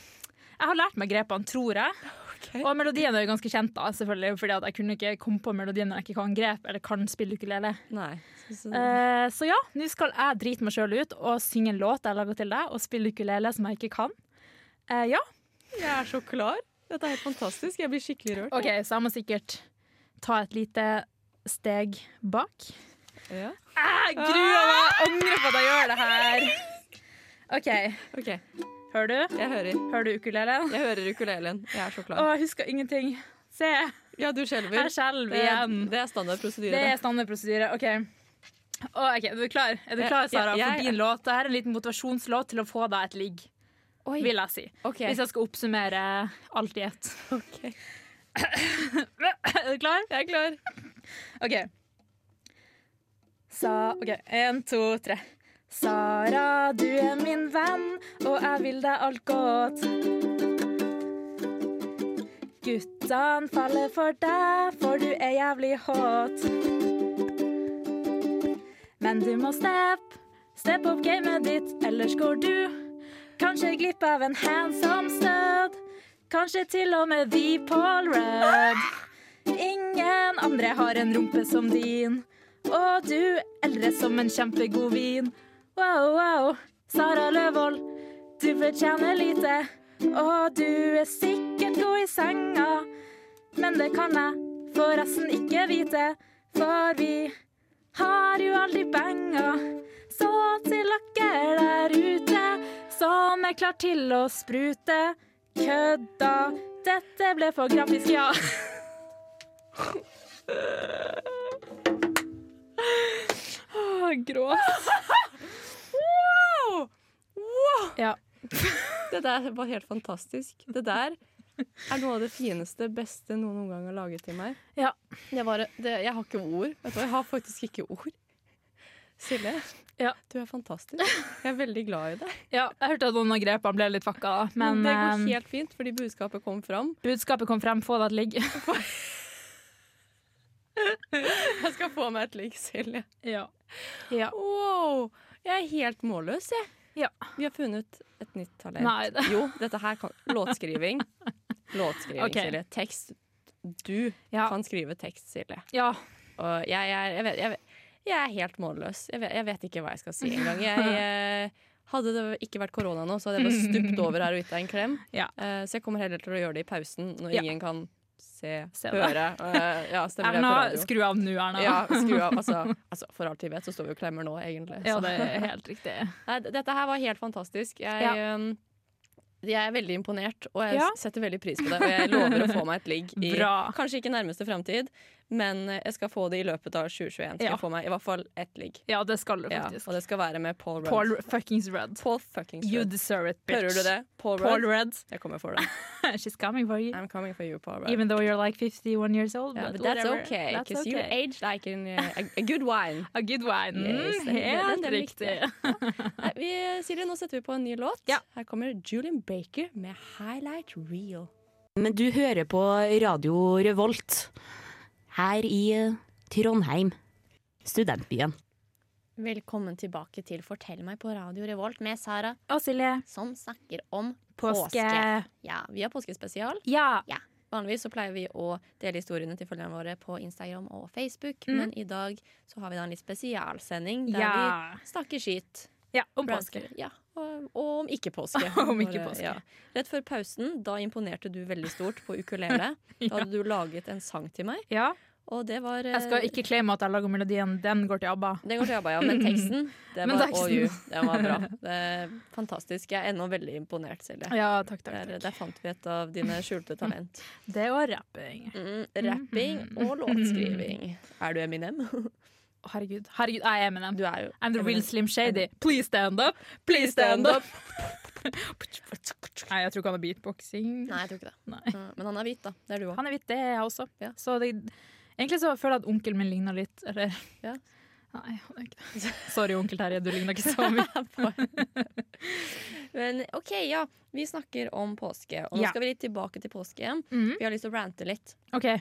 B: har lært meg grepene, tror jeg.
A: Ok.
B: Og melodien er jo ganske kjent, da, selvfølgelig, fordi at jeg kunne ikke komme på melodien når jeg ikke kan grep eller kan spille ukulele.
A: Nei. Så, så,
B: Eh, så ja, nå skal jeg drite meg sjøl ut og synge en låt jeg lager til deg, og spille ukulele som jeg ikke kan. Eh, ja.
A: jeg er så klar. Dette er helt fantastisk. Jeg blir skikkelig rørt.
B: OK, så jeg må sikkert ta et lite steg bak.
A: Ja.
B: Jeg gruer meg! Jeg Angrer på at jeg gjør det her. OK.
A: OK, jeg
B: Hører du?
A: hører.
B: Hører du ukulelen?
A: Jeg hører ukulelen. Jeg er så
B: Å,
A: klar.
B: jeg husker ingenting. Se,
A: Ja, du skjelver.
B: jeg skjelver
A: Det,
B: igjen.
A: det er standardprosedyre.
B: Det
A: det.
B: er standardprosedyre. OK. Å, ok, Er du klar, er du
A: Ja,
B: klar
A: ja,
B: Sara,
A: jeg-
B: for din låt? Dette er en liten motivasjonslåt til å få deg et ligg,
A: Oi.
B: vil jeg si.
A: OK.
B: Hvis jeg skal oppsummere alt i ett.
A: Ok.
B: Er du klar?
A: Jeg er klar.
B: OK. Sa OK, én, to, tre. Sara, du er min venn, og jeg vil deg alt godt. Guttene faller for deg, for du er jævlig hot. Men du må step, step opp gamet ditt, ellers går du kanskje glipp av en handsome stud. Kanskje til og med The Paul Rudd. Ingen andre har en rumpe som din. Og du eldre som en kjempegod vin. Wow, wow, Sara Løvold, du fortjener lite. Og du er sikkert god i senga, men det kan jeg forresten ikke vite. For vi har jo aldri banga. Så til dere der ute som er klar til å sprute. Kødda, dette ble for grafisk, ja. Gråt. Ja.
A: Det der var helt fantastisk. Det der er noe av det fineste, beste noen noen gang har laget til meg.
B: Ja.
A: Det var, det, jeg har ikke ord. Vet du, hva, jeg har faktisk ikke ord. Silje,
B: Ja.
A: du er fantastisk. Jeg er veldig glad i deg.
B: ja, jeg hørte at noen av grepene ble litt fucka, da, men
A: det går
B: eh,
A: helt fint, fordi budskapet kom fram.
B: budskapet kom frem. Få det til å ligge.
A: Jeg skal få meg et ligg, Silje.
B: Ja. ja.
A: Wow! Jeg er helt målløs, jeg.
B: Ja.
A: Vi har funnet et nytt talent.
B: Nei, det-
A: Jo, dette her kan Låtskriving. Låtskriving,
B: Ok.
A: Silje. Tekst. Du
B: Ja.
A: kan skrive tekst, Silje.
B: ja.
A: Og jeg, er- jeg, vet, jeg, vet, jeg er helt målløs. Jeg vet, jeg vet ikke hva jeg skal si engang. Jeg, eh, hadde det ikke vært korona nå, så hadde jeg bare stupt over her og gitt deg en klem.
B: Ja.
A: Eh, så jeg kommer heller til å gjøre det i pausen, når
B: Ja.
A: ingen kan se,
B: Se det.
A: høre. Eh, ja, stemmer det
B: Erna,
A: på radio?
B: skru av nå, Erna.
A: Ja, skru av. Altså, altså, for alt vi vet, så står vi og klemmer nå, egentlig.
B: Ja,
A: Så.
B: det er helt riktig.
A: Nei, d- dette her var helt fantastisk. Jeg,
B: Ja.
A: eh, jeg er veldig imponert, og jeg
B: Ja.
A: s- setter veldig pris på det. Og jeg lover å få meg et ligg i
B: Bra.
A: kanskje ikke nærmeste framtid, men eh, jeg skal få det i løpet av 2021. Skal
B: Ja.
A: jeg få meg i hvert fall ett ligg.
B: Ja, det skal du
A: Ja,
B: faktisk.
A: og det skal være med Paul Rudd.
B: Paul fuckings Rudd.
A: Paul fucking
B: You
A: Rudd.
B: deserve it, bitch.
A: Hører du det? Paul Rudd.
B: Paul Rudd.
A: Jeg kommer for det.
B: She's coming for you.
A: I'm coming for you, Paul Rudd.
B: Even though you're like 51 years old.
A: yeah, but
B: but
A: that's
B: whatever.
A: okay,
B: That's
A: because you
B: okay.
A: aged like an, uh, a, a good wine.
B: A good wine.
A: Yes, den-
B: Mm,
A: den-
B: helt
A: den likte
B: riktig.
A: jeg. Nei, vi, Silje, nå setter vi på en ny låt.
B: Ja.
A: Her kommer Julian Baker med 'Highlight Real'.
I: Men du hører på Radio Revolt her i eh, Trondheim, studentbyen.
G: Velkommen tilbake til Fortell meg på Radio Revolt med Sara,
B: Og Silje,
G: som snakker om
B: påske.
G: Påske.
A: Ja, vi har påskespesial.
B: Ja.
A: Vanligvis så pleier vi å dele historiene til følgerne våre på Instagram og Facebook,
B: Mm.
A: men i dag så har vi da en litt spesialsending der
B: Ja.
A: vi snakker skitt.
B: ja. Om påske.
A: Ja, og, og om ikke påske.
B: Om ikke
A: Bare-
B: påske.
A: ja. Rett før pausen, da imponerte du veldig stort på ukulele. Da hadde du laget en sang til meg,
B: Ja.
A: og det var
B: Jeg skal
A: eh,
B: ikke claime at jeg lager melodien. Den går til ABBA.
A: Den går til Abba, ja, men teksten, det
B: Men
A: var
B: teksten.
A: all you. Den var bra. Det er fantastisk. Jeg er ennå veldig imponert, Silje.
B: Ja, takk, takk. Mm.
A: Der,
B: takk.
A: der fant vi et av dine skjulte talent.
B: Det og rapping.
A: Mm, rapping og låtskriving. Er du Eminem?
B: Herregud. Herregud, jeg er Eminem.
A: Du er jo
B: I'm the real
A: Eminem.
B: Slim Shady. Please stand up! Please stand up! Nei, jeg tror ikke han har beatboxing.
A: Nei, jeg tror ikke det.
B: Nei.
A: Mm, Men han er hvit, da. Det er du òg.
B: Han er hvitt, det er jeg også.
A: Ja.
B: Så det, egentlig så føler jeg at onkelen min ligner litt, eller
A: Ja.
B: Nei, han er ikke det. Sorry, onkel Terje, du ligner ikke så mye.
A: Men OK, ja. Vi snakker om påske, og nå
B: Ja.
A: skal vi litt tilbake til påske igjen.
B: Mhm.
A: Vi har lyst til å rante litt.
B: OK.
A: Eh,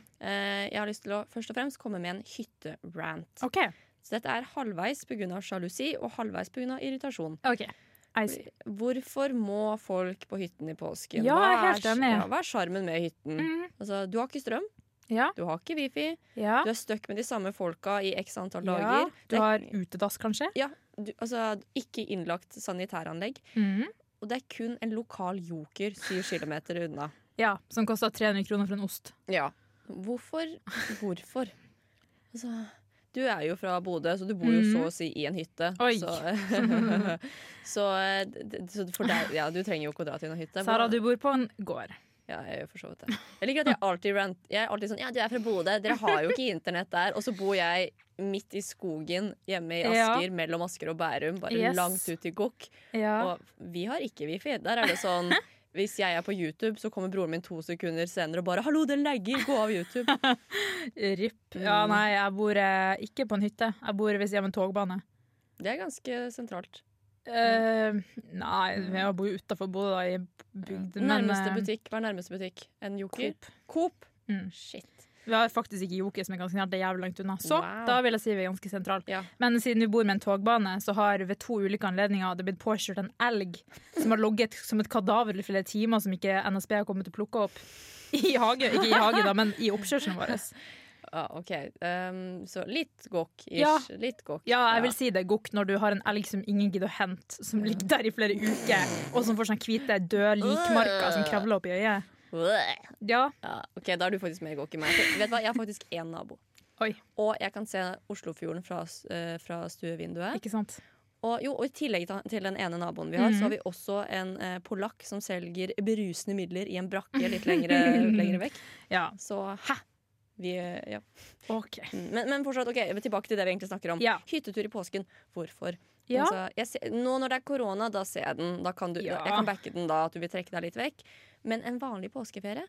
A: Jeg har lyst til å først og fremst komme med en hytterant.
B: ok,
A: Så dette er halvveis pga. sjalusi og halvveis pga. irritasjon.
B: ok. I see.
A: Hvorfor må folk på hytten i påsken?
B: Ja, jeg er
A: sj-
B: helt enig.
A: Ja, hva er sjarmen med hytten?
B: Mm.
A: Altså, du har ikke strøm,
B: Ja.
A: du har ikke wifi,
B: ja.
A: du er stuck med de samme folka i x antall
B: ja.
A: dager.
B: Du har utedass, kanskje?
A: ja, du, altså, ikke innlagt sanitæranlegg.
B: Mm.
A: Og det er kun en lokal joker syv kilometer unna.
B: Ja, som kosta 300 kroner for en ost.
A: Ja. Hvorfor? Hvorfor? Altså, du er jo fra Bodø, så du bor jo
B: Mhm.
A: så å si i en hytte.
B: Oi.
A: Så, så, eh, d- så for deg Ja, du trenger jo ikke å dra til noen hytte.
B: Sara,
A: Hvordan-
B: du bor på en gård.
A: Ja, jeg gjør for så vidt det. Jeg liker at jeg alltid rant Jeg er alltid sånn Ja, du er fra Bodø, dere har jo ikke internett der. Og så bor jeg midt i skogen hjemme i
B: Ja.
A: Asker, mellom Asker og Bærum, bare
B: Yes.
A: langt ut i Gokk.
B: Ja.
A: Og vi har ikke wifi. Der er det sånn hvis jeg er på YouTube, så kommer broren min to sekunder senere og bare 'Hallo, den lagger! Gå av YouTube!'
B: Ripp.
A: Mm.
B: Ja, nei, jeg bor eh, ikke på en hytte. Jeg bor ved siden av en togbane.
A: Det er ganske sentralt.
B: Eh,
A: Mm.
B: nei, jeg bor jo utafor Bodø, da, i bygd.
A: Nærmeste
B: eh,
A: butikk. Hva er nærmeste butikk? En joker?
B: Coop.
A: Coop.
B: Mm.
A: Shit.
B: Vi har faktisk ikke Joker, som er ganske nært. Det er jævlig langt unna. Så
A: Wow.
B: da vil jeg si vi er ganske sentral.
A: Ja.
B: Men siden vi bor med en togbane, så har ved to ulike anledninger det blitt påkjørt en elg som har ligget som et kadaver i flere timer, som ikke NSB har kommet til å plukke opp. I hage, ikke i hage da, men i oppkjørselen vår.
A: Ja, OK. Um, så litt gokk-ish.
B: Ja.
A: Litt gokk.
B: Ja, jeg vil si det, Gokk, når du har en elg som ingen gidder å hente, som ligger der i flere uker, og som får sånne hvite, døde likmarker som kravler opp i øyet. Ja,
A: Ja, ok, Da er du faktisk mer gokk i meg. For, vet du hva, Jeg har faktisk én nabo.
B: Oi.
A: Og jeg kan se Oslofjorden fra, s- eh, fra stuevinduet.
B: ikke sant?
A: Og, jo, og I tillegg ta- til den ene naboen vi har,
B: Mhm.
A: så har vi også en eh, polakk som selger berusende midler i en brakke litt lengre, lengre vekk.
B: Ja,
A: Så hæ! Vi, eh, ja.
B: ok.
A: Mm, men, men fortsatt, ok, tilbake til det vi egentlig snakker om.
B: Ja.
A: Hyttetur i påsken. Hvorfor?
B: Ja.
A: Altså, jeg ser, nå når det er korona, da ser jeg den. Da kan du,
B: Ja.
A: Jeg kan backe den da, at du vil trekke deg litt vekk. Men en vanlig påskeferie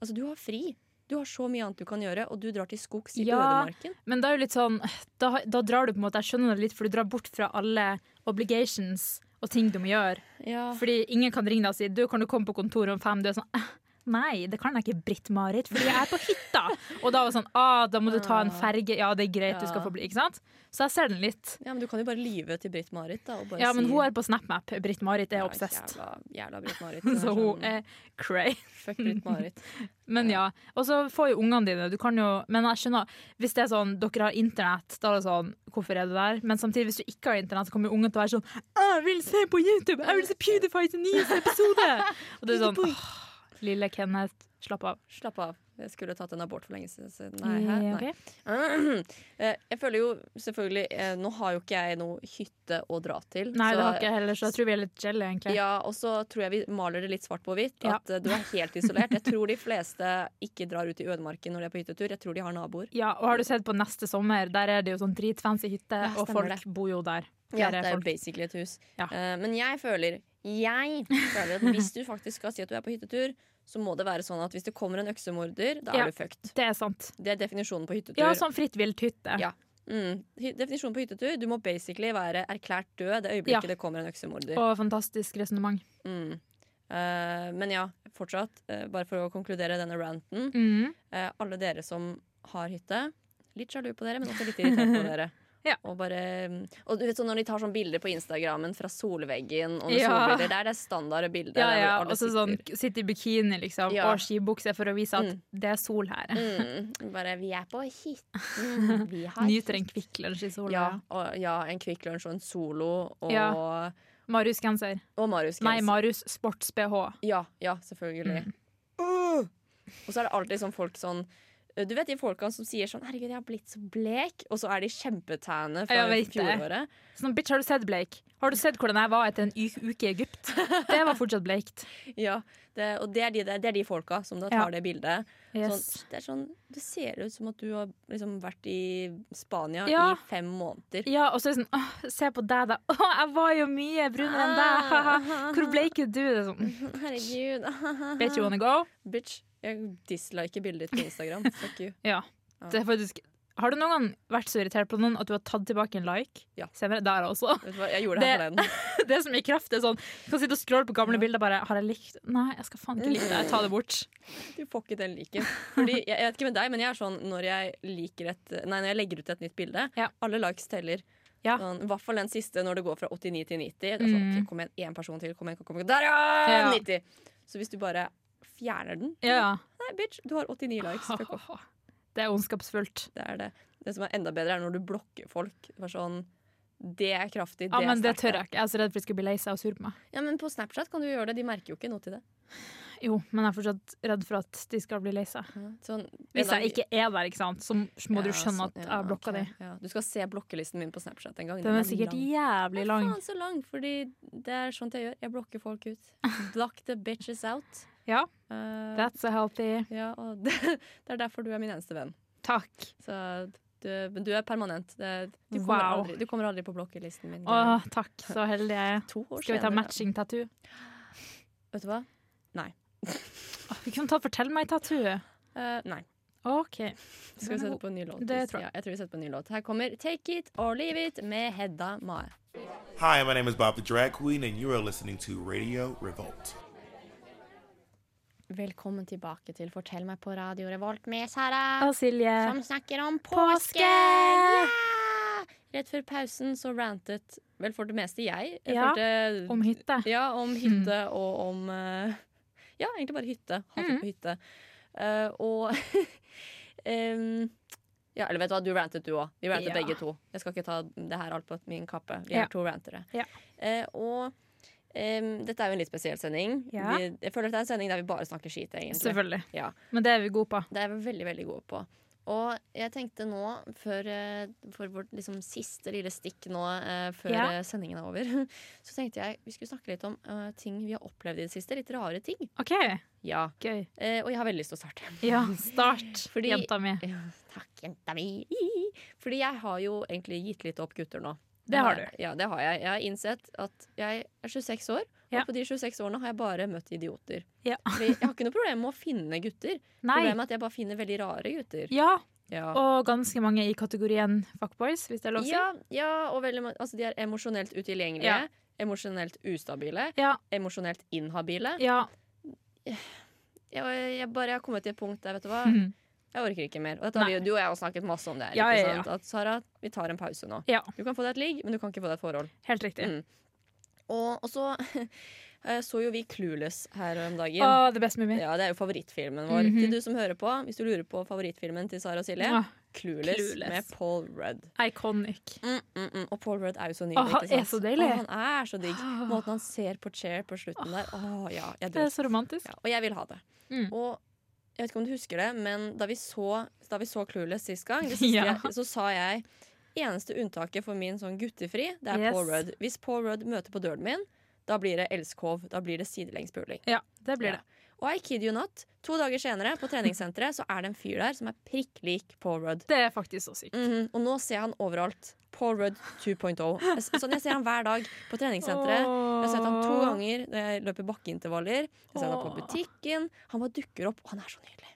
A: Altså, du har fri. Du har så mye annet du kan gjøre, og du drar til skogs i
B: Ja.
A: ødemarken.
B: Men det er jo litt sånn da, da drar du på en måte, jeg skjønner det litt, for du drar bort fra alle obligations og ting du må gjøre.
A: Ja.
B: Fordi ingen kan ringe deg og si du kan du komme på kontoret om fem. Du er sånn «Eh, nei, det kan jeg ikke, Britt-Marit, fordi jeg er på hytta. Og da var det sånn ah, da må du ta en ferge. Ja, det er greit, du skal få bli. Ikke sant? Så jeg ser den litt.
A: men du kan jo bare lyve til Britt-Marit, da. Og bare
B: Ja, men
A: si,
B: hun er på SnapMap. Britt-Marit er obsessed.
A: Jævla, jævla Britt-Marit.
B: Så hun
A: sånn,
B: er cray.
A: Fuck Britt-Marit.
B: Men ja, og så får jo ungene dine du kan jo, Men jeg skjønner, hvis det er sånn dere har internett, da er det sånn Hvorfor er du der? Men samtidig, hvis du ikke har internett, så kommer jo ungen til å være sånn Jeg vil se på YouTube! Jeg vil se PewDiePie til nyeste episode! Og det er sånn åh, Lille Kenneth, slapp av.
A: Slapp av. Jeg skulle tatt en abort for lenge siden. Nei, hæ? Nei. Eh, Jeg føler jo selvfølgelig eh, Nå har jo ikke jeg noe hytte å dra til.
B: Nei,
A: så-
B: det har ikke jeg heller, så jeg tror vi er litt jelly, egentlig.
A: Ja, og så tror jeg vi maler det litt svart på hvitt.
B: Ja.
A: At eh, du er helt isolert. Jeg tror de fleste ikke drar ut i ødemarken når de er på hyttetur. Jeg tror de har naboer.
B: Ja, og har du sett på neste sommer, der er det jo sånn dritfancy hytte,
A: Ja,
B: og
A: stemmer
B: folk bor jo der.
A: Ja,
B: Der er
A: det er jo
B: folk.
A: basically et hus.
B: Ja.
A: Eh, Men jeg føler Jeg føler at hvis du faktisk skal si at du er på hyttetur, så må det være sånn at hvis det kommer en øksemorder, da er
B: Ja.
A: du fucked.
B: Det er sant.
A: Det er definisjonen på hyttetur.
B: Ja, sånn fritt vilt hytte.
A: Ja. Mm. Hy- Definisjonen på hyttetur Du må basically være erklært død det øyeblikket
B: Ja.
A: det kommer en øksemorder.
B: Og fantastisk resonnement.
A: Mm. Eh, men ja, fortsatt, eh, bare for å konkludere denne ranten.
B: Mm.
A: eh, alle dere som har hytte, litt sjalu på dere, men også litt irritert på dere.
B: Ja.
A: Og, bare, mm, og du vet sånn når de tar sånn bilder på Instagrammen fra solveggen og med
B: Ja.
A: solbriller, det er det standarde bildet.
B: Ja,
A: der
B: ja,
A: hvor alle
B: og så sånn
A: sitter.
B: sitte i bikini, liksom,
A: Ja.
B: og skibukse for å vise at
A: Mm.
B: det er sol her.
A: Mm, bare vi er på hytten. Vi har
B: Nyter en Kvikk Lunsj-sol.
A: ja, og, ja, en Kvikk Lunsj og en Solo og,
B: Ja. Marius-genser.
A: og Marius
B: Nei,
A: Gens.
B: Marius sports-BH.
A: Ja, ja, selvfølgelig.
B: Mm.
A: Uh! Og så er det alltid sånn folk sånn Du vet de folkene som sier sånn 'herregud, jeg har blitt så blek', og så er de kjempetæne fra
B: Jeg vet det.
A: fjoråret.
B: Sånn, bitch, har du sett Blake? Har du sett hvordan jeg var etter en u- uke i Egypt? Det var fortsatt bleikt.
A: Ja, det, og det er, de, det er de folka som da tar
B: Ja.
A: det bildet.
B: Yes.
A: Sånn, det er sånn, det ser ut som at du har liksom vært i Spania
B: Ja.
A: i fem måneder.
B: Ja, og så er det sånn, åh, se på deg da. Åh, jeg var jo mye brunere enn
A: Ah.
B: deg. haha. Hvor bleik er du? Det er sånn,
A: Herregud.
B: bitch, you wanna go?
A: Bitch, jeg disliker bildet ditt på Instagram. Fuck you.
B: Ja. Det er faktisk, har du noen gang vært så irritert på noen at du har tatt tilbake en like?
A: Ja.
B: Senere, der også.
A: Vet du hva, jeg gjorde det her
B: Det-
A: forleden.
B: Det som er kraft, det er sånn, du kan sitte og scrolle på gamle bilder bare, har jeg likt? Nei, jeg skal faen ikke like det. Jeg tar det bort.
A: Du får ikke den liken. Fordi, jeg, jeg vet ikke med deg, men jeg er sånn når jeg, liker et, nei, når jeg legger ut et nytt bilde
B: Ja.
A: Alle likes teller.
B: Ja.
A: Sånn, I hvert fall den siste når det går fra 89 til 90. Det er sånn,
B: Mm.
A: ok, kom igjen, én person til. Kom igjen, kom igjen. Der, ja!
B: Ja.
A: 90! Så hvis du bare fjerner den
B: Ja, ja.
A: Nei, bitch, du har 89 likes. Fuck off.
B: Det er ondskapsfullt.
A: Det er det. Det som er enda bedre, er når du blokker folk. Bare sånn det er kraftig.
B: Ja, men det
A: sterkt,
B: tør jeg ikke. Jeg er så redd for at jeg skal bli lei seg og sur på meg.
A: Ja, men På Snapchat kan du gjøre det. De merker jo ikke noe til det.
B: Jo, men jeg er fortsatt redd for at de skal bli lei seg.
A: Sånn,
B: Mm. Hvis
A: en dag-
B: jeg ikke er der, ikke sant, så må
A: Ja,
B: du skjønne
A: sånn,
B: at jeg
A: ja,
B: har blokka
A: ok,
B: de.
A: ja. Du skal se blokkelisten min på Snapchat en gang.
B: Den er sikkert
A: lang.
B: jævlig
A: Nei,
B: lang.
A: Faen så lang, fordi det er sånt jeg gjør. Jeg blokker folk ut. Block the bitches out.
B: Ja.
A: Eh,
B: That's a healthy
A: ja og det, det er derfor du er min eneste venn.
B: Takk.
A: Så du, men du er permanent. Det, du, kommer
B: Wow.
A: aldri, du kommer aldri på blokkelisten min.
B: Åh, takk. Så heldig jeg er.
A: to år
B: Skal vi ta
A: senere.
B: matching tattoo?
A: Vet du hva?
B: Åh, vi kunne tatt Fortell meg-tattoo.
A: Eh, nei.
B: OK.
A: Skal vi sette på en ny låt?
B: Det tror jeg.
A: Ja, jeg tror vi setter på en ny låt. Her kommer Take It or Leave It med Hedda Mae.
J: Hi, my name is Bob the Drag Queen, and you are listening to Radio Revolt.
G: Velkommen tilbake til Fortell meg på Radio Revolt med Sara,
B: Og Silje.
G: som snakker om
B: Påske!
G: påske. Yeah!
A: Rett før pausen så rantet vel for det meste jeg. jeg
B: Ja,
A: følte-
B: Om Hmm. hytte.
A: Ja, om hytte og om eh, Ja, egentlig bare hytte. Hatet
B: Hmm.
A: på hytte. Eh, og em, Ja, eller vet du hva, du rantet du òg. Vi rantet
B: Ja.
A: begge to. Jeg skal ikke ta det her alt på min kappe. Vi
B: Ja.
A: er to rantere.
B: Ja.
A: Eh, og em, dette er jo en litt spesiell sending.
B: Ja.
A: Vi, jeg føler at det er en sending der vi bare snakker skit, egentlig.
B: Selvfølgelig.
A: Ja.
B: Men det er vi gode på.
A: Det er vi veldig, veldig gode på. Og jeg tenkte nå, før, eh, for vårt liksom, siste lille stikk nå eh, før
B: Ja.
A: eh, sendingen er over, så tenkte jeg vi skulle snakke litt om eh, ting vi har opplevd i det siste. Litt rare ting.
B: OK,
A: Ja.
B: gøy.
A: Eh, og jeg har veldig lyst til å starte.
B: Ja, start,
A: Fordi-
B: jenta mi.
A: Ja, Takk, jenta mi. Fordi jeg har jo egentlig gitt litt opp gutter nå. Eh,
B: Det har du.
A: Ja, det har jeg. Jeg har innsett at jeg er 26 år,
B: Ja.
A: og på de 26 årene har jeg bare møtt idioter.
B: Ja.
A: Fordi jeg har ikke noe problem med å finne gutter.
B: Nei.
A: Problemet er at jeg bare finner veldig rare gutter.
B: Ja,
A: Ja.
B: og ganske mange i kategorien fuckboys, hvis det er lov å si.
A: Ja, ja og veldig, ma- altså, de er emosjonelt utilgjengelige.
B: Ja.
A: Emosjonelt ustabile.
B: Ja,
A: Emosjonelt inhabile.
B: ja.
A: Jeg, jeg bare jeg har kommet til et punkt der, vet du hva.
B: Mhm.
A: Jeg orker ikke mer. Og dette har vi, jo- du og jeg har snakket masse om det. her,
B: Ja,
A: ikke
B: ja, ja.
A: sant? At Sara, vi tar en pause nå.
B: Ja.
A: Du kan få deg et ligg, men du kan ikke få deg et forhold.
B: Helt riktig.
A: Mm. Og, og så eh, så jo vi Clueless her om dagen.
B: Å, det beste med meg.
A: Ja, Det er jo favorittfilmen vår.
B: Mhm.
A: Til du som hører på, Hvis du lurer på favorittfilmen til Sara og Silje,
B: Åh,
A: Clueless,
B: Clueless.
A: med Paul Rudd.
B: Iconic.
A: Mm, mm, mm. Og Paul Rudd er jo så nydelig.
B: Åh, han
A: ikke sant?
B: er så deilig.
A: Åh, han er så digg. Måten han ser på Cher på slutten der. Åh, ja, jeg
B: Det
A: dør.
B: er så romantisk.
A: Ja, og jeg vil ha det.
B: Mm.
A: Og Jeg vet ikke om du husker det, men da vi så, da vi så Clueless sist gang, det siste
B: Ja.
A: jeg, så sa jeg Eneste unntaket for min sånn guttefri, det er
B: Yes.
A: Paul Rudd. Hvis Paul Rudd møter på døren min, da blir det elskov. Da blir det sidelengsmåling.
B: Ja, det blir det.
A: Og I kid you not, to dager senere på treningssenteret så er det en fyr der som er prikk lik Paul Rudd.
B: Det er faktisk så sykt.
A: Mhm, Og nå ser jeg han overalt. Paul Rudd 2.0. Jeg s- Sånn jeg ser han hver dag på treningssenteret. Jeg har sett han to ganger når jeg løper bakkeintervaller. Jeg ser han på
B: Åh.
A: butikken. Han bare dukker opp, og han er så nydelig.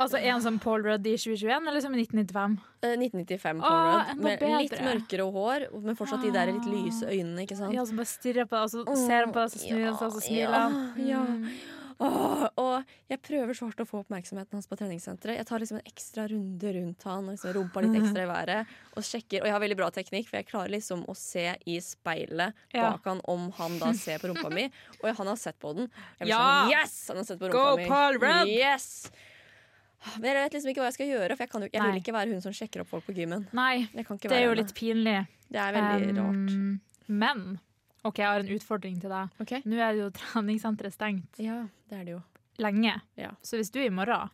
B: Altså en som Paul Rudd i 2021, eller som i 1995?
A: Eh, 1995 Paul
B: Åh,
A: Rudd.
B: enda
A: Med
B: bedre.
A: litt mørkere hår, men fortsatt de der litt lyse øynene. ikke sant?
B: Ja, som bare stirrer på deg, og så ser han på deg, så snur han seg, og så smiler Mm. han.
A: Ja, Åh, og jeg prøver så hardt å få oppmerksomheten hans på treningssenteret. Jeg tar liksom en ekstra runde rundt han og liksom rumpa litt ekstra i været. Og sjekker, og jeg har veldig bra teknikk, for jeg klarer liksom å se i speilet
B: Ja.
A: bak han om han da ser på rumpa mi. Og han har sett på den. Jeg blir
B: Ja!
A: sånn, yes! Han har sett på rumpa
B: Go,
A: mi.
B: Paul Rudd!
A: Yes! Men jeg vet liksom ikke hva jeg skal gjøre, for jeg, kan jo, jeg
B: Nei.
A: vil ikke være hun som sjekker opp folk på gymmen.
B: Nei,
A: Jeg kan ikke
B: det
A: være
B: er jo
A: henne.
B: litt pinlig.
A: Det er veldig rart.
B: Um, Men OK, jeg har en utfordring til deg.
A: Ok?
B: Nå er jo treningssenteret stengt
A: Ja, det er det jo.
B: lenge,
A: Ja.
B: så hvis du i morgen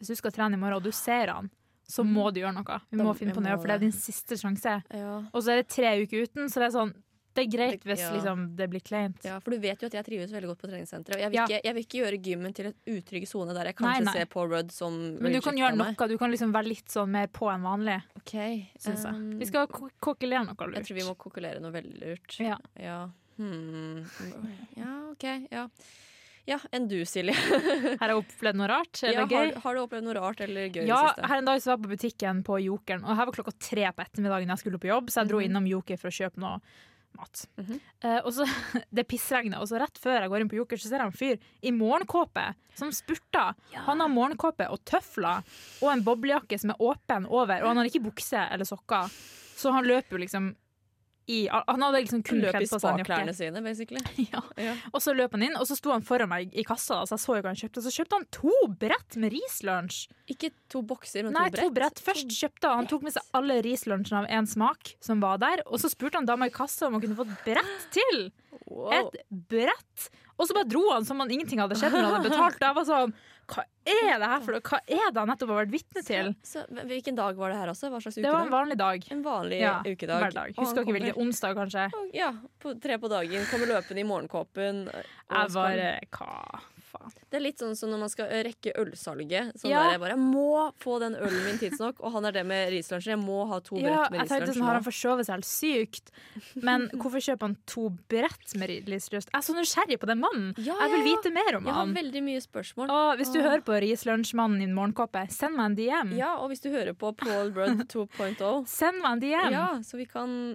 B: Hvis du skal trene i morgen, og du ser han, så må du gjøre noe.
A: Mm.
B: Vi
A: Da-
B: må finne
A: vi
B: på noe,
A: må
B: for det er
A: det.
B: din siste sjanse.
A: Ja.
B: Og så er det tre uker uten, så det er sånn Det er
A: Det-
B: greit hvis
A: ja.
B: liksom, det blir kleint.
A: Ja, for du vet jo at jeg trives veldig godt på treningssenteret. Og jeg vil,
B: Ja.
A: ikke, jeg vil ikke gjøre gymmen til en utrygg sone der jeg kanskje
B: Nei, nei.
A: ser Paul Rudd som
B: Men du kan gjøre
A: noe
B: noe. Du kan liksom være litt sånn mer på enn vanlig, syns jeg.
A: Um,
B: Vi skal ko- kokkelere noe lurt.
A: jeg tror vi må kokkelere noe veldig lurt.
B: Ja.
A: Ja. Hmm. ja, OK. Ja. ja enn du, Silje.
B: Her har jeg opplevd noe rart. Er
A: Ja,
B: det
A: har,
B: gøy?
A: har du opplevd noe rart eller gøy i
B: Ja,
A: det siste?
B: her en dag så var jeg på butikken på Jokeren, og her var klokka tre på ettermiddagen jeg skulle på jobb, så jeg dro innom Joker for å kjøpe noe mat.
A: Mhm.
B: Eh, og så, Det pissregner, og så rett før jeg går inn på Joker, så ser jeg en fyr i morgenkåpe som spurter. Han har morgenkåpe og tøfler og en boblejakke som er åpen over, og han har ikke bukse eller sokker, så han løper jo liksom i Han hadde liksom kun
A: Løp i
B: kledd på seg en jakke.
A: spaklærne sine, basically.
B: Ja.
A: Ja.
B: Og så løp han inn, og så sto han foran meg i kassa, da, så jeg så jo hva han kjøpte. Så kjøpte han to brett med rislunsj.
A: Ikke to bokser, men
B: Nei,
A: to brett.
B: to brett. Først kjøpte han, han tok med seg alle rislunsjene av én smak som var der, og så spurte han dama i kassa om hun kunne få et brett til.
A: Wow.
B: Et brett! Og så bare dro han som om ingenting hadde skjedd når han hadde betalt. Jeg var sånn, hva er det her for noe? Hva er det han nettopp har vært vitne til?
A: Så, men hvilken dag var det her også? Hva slags
B: Det var en
A: ukedag?
B: vanlig dag.
A: En vanlig
B: Ja,
A: ukedag.
B: hverdag.
A: Og han
B: Husker ikke
A: kommer-
B: hvilken onsdag, kanskje.
A: Ja, på, tre på dagen. Kommer løpende i morgenkåpen. og
B: Jeg eh,
A: skal-
B: bare, hva faen?
A: Det er litt sånn som når man skal rekke ølsalget. Sånn
B: Ja.
A: der jeg bare jeg må få den ølen min tidsnok, og han er det med rislunsjen. Jeg må ha to
B: Ja,
A: brett med
B: jeg tenkte
A: rislunsj.
B: sånn, har han
A: nå.
B: forsovet seg helt sykt? Men hvorfor kjøper han to brett med rislunsj? Jeg er så nysgjerrig på den mannen.
A: Ja,
B: Jeg vil
A: ja, ja.
B: vite mer om
A: Jeg har
B: han.
A: veldig mye spørsmål.
B: Å, hvis du hører på Rislunsjmannen i morgenkåpe, send meg en DM.
A: Ja, og hvis du hører på Paul Rudd 2.0,
B: Send meg en DM!
A: ja, så vi kan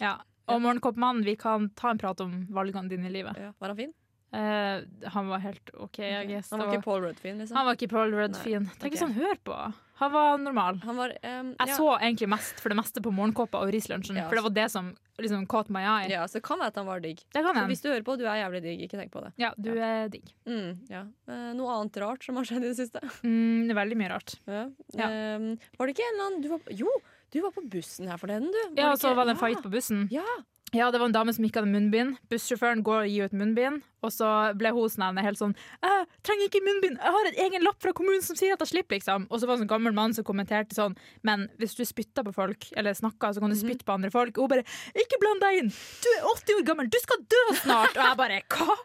B: Ja. Og Morgenkåpemannen, vi kan ta en prat om valgene dine i livet.
A: ja, Var han fin?
B: Eh, han var helt OK, I guess.
A: Han var
B: Det
A: ikke Paul Rudd-fin, liksom?
B: han var ikke Paul Rudd
A: Nei,
B: fin. Tenk
A: ok.
B: hvis han hører på! Han var normal.
A: Han var ehm,
B: Jeg
A: ja.
B: så egentlig mest for det meste på morgenkåpa og Rislunsjen,
A: Ja.
B: for det var det som liksom caught my eye.
A: ja, så det kan være at han var digg.
B: Det kan
A: Så
B: hende.
A: hvis du hører på, du er jævlig digg. Ikke tenk på det.
B: Ja, du er digg.
A: Mm, ja. Eh, noe annet rart som har skjedd i det siste?
B: Mm, det er veldig mye rart.
A: Ja.
B: Ja.
A: Ehm, var det ikke en eller annen du var, Jo, du var på bussen her forleden, du.
B: Ja, og
A: ikke-
B: så var det en fight på bussen.
A: Ja.
B: Ja, det var en dame som ikke hadde munnbind. Bussjåføren går og gir ut munnbind, og så ble hun snevende helt sånn Jeg trenger ikke munnbind, jeg har en egen lapp fra kommunen som sier at jeg slipper, liksom. Og så var det en sånn gammel mann som kommenterte sånn, men hvis du spytter på folk, eller snakker, så kan
A: Mhm.
B: du spytte på andre folk. Og hun bare Ikke bland deg inn! Du er 80 år gammel, du skal dø snart! Og jeg bare Hva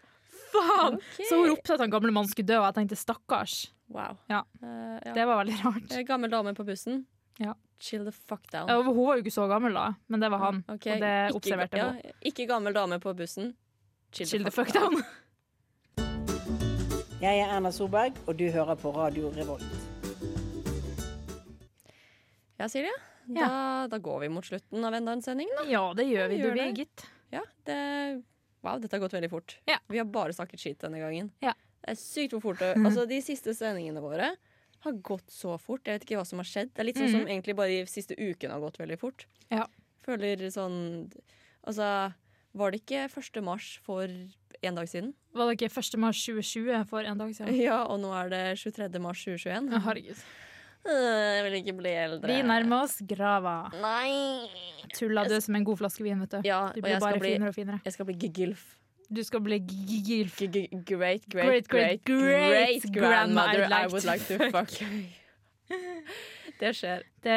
B: faen? Så hun ropte at han gamle mannen skulle dø, og jeg tenkte stakkars.
A: Wow.
B: Ja.
A: Eh, ja.
B: Det var veldig rart.
A: Eh, Gammel dame på bussen.
B: Ja.
A: Chill the fuck down.
B: Og hun var jo ikke så gammel da, men det var han.
A: Ok,
B: Og det
A: ikke-
B: observerte
A: ja,
B: hun.
A: Ikke gammel dame på bussen. Chill,
B: Chill the fuck down.
K: Jeg er Erna Solberg, og du hører på Radio Revolt.
A: Ja, Silje.
B: Ja.
A: Da, da går vi mot slutten av enda en sending, da.
B: Ja, det gjør vi,
A: vi
B: du
A: gjør det.
B: Birgit.
A: Ja, det, wow, dette har gått veldig fort.
B: Ja.
A: Vi har bare snakket skit denne gangen.
B: Ja.
A: Det er sykt hvor fort det Altså, de siste sendingene våre har gått så fort. Jeg vet ikke hva som har skjedd. Det er litt sånn som egentlig bare de siste ukene har gått veldig fort.
B: Mm. Ja.
A: Føler sånn Altså, var det ikke 1. mars for en dag siden?
B: Var det ikke 1. mars 2020 for en dag siden?
A: Ja, og nå er det 23. mars 2021.
B: Å, Herregud.
A: Øh, Jeg vil ikke bli eldre.
B: Vi nærmer oss grava.
A: Nei!
B: Tulla du som en god flaske vin, vet du.
A: Ja,
B: Du
A: og
B: blir
A: jeg
B: bare
A: skal bli,
B: finere og finere.
A: jeg skal bli gigilf.
B: Du skal bli gigil.
A: Great,
B: Great,
A: great,
B: great,
A: great,
B: great
A: great, grandmother
B: grandmother
A: I
B: I'd
A: would like to fuck. Det skjer.
B: Det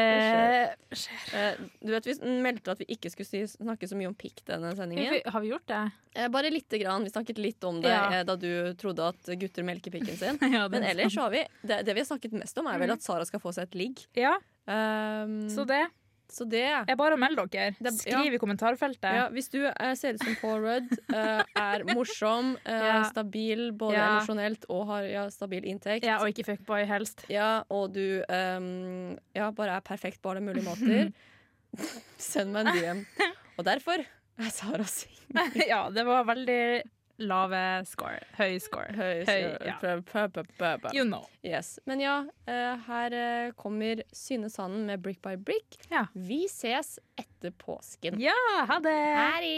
A: Eh, Du vet, Vi meldte at vi ikke skulle si- snakke så mye om pikk denne sendingen.
B: Har vi gjort det?
A: Eh, Bare lite grann. Vi snakket litt om det
B: Ja.
A: eh, da du trodde at gutter melker pikken sin.
B: Ja, det er
A: Men ellers
B: sant.
A: har vi det, det vi har snakket mest om, er vel at Sara skal få seg et ligg.
B: Ja.
A: Um,
B: Så det
A: så det
B: er bare å melde dere. Skriv
A: ja.
B: i kommentarfeltet.
A: ja, Hvis du eh, ser ut som Paul Rudd, eh, er morsom, eh,
B: Ja.
A: stabil både
B: Ja.
A: emosjonelt og har ja, stabil inntekt
B: Ja, og ikke fuckboy, helst.
A: Ja, og du ehm, ja, bare er perfekt på alle mulige måter, send meg en DM. Og derfor er Sara singel.
B: ja, det var veldig lave score. Høy score. Høy, ja. You know.
A: Yes. Men ja, eh, her eh, kommer Syne Sanden med Brick by Brick.
B: Ja.
A: Vi ses etter påsken.
B: Ja, ha det!
A: Hei!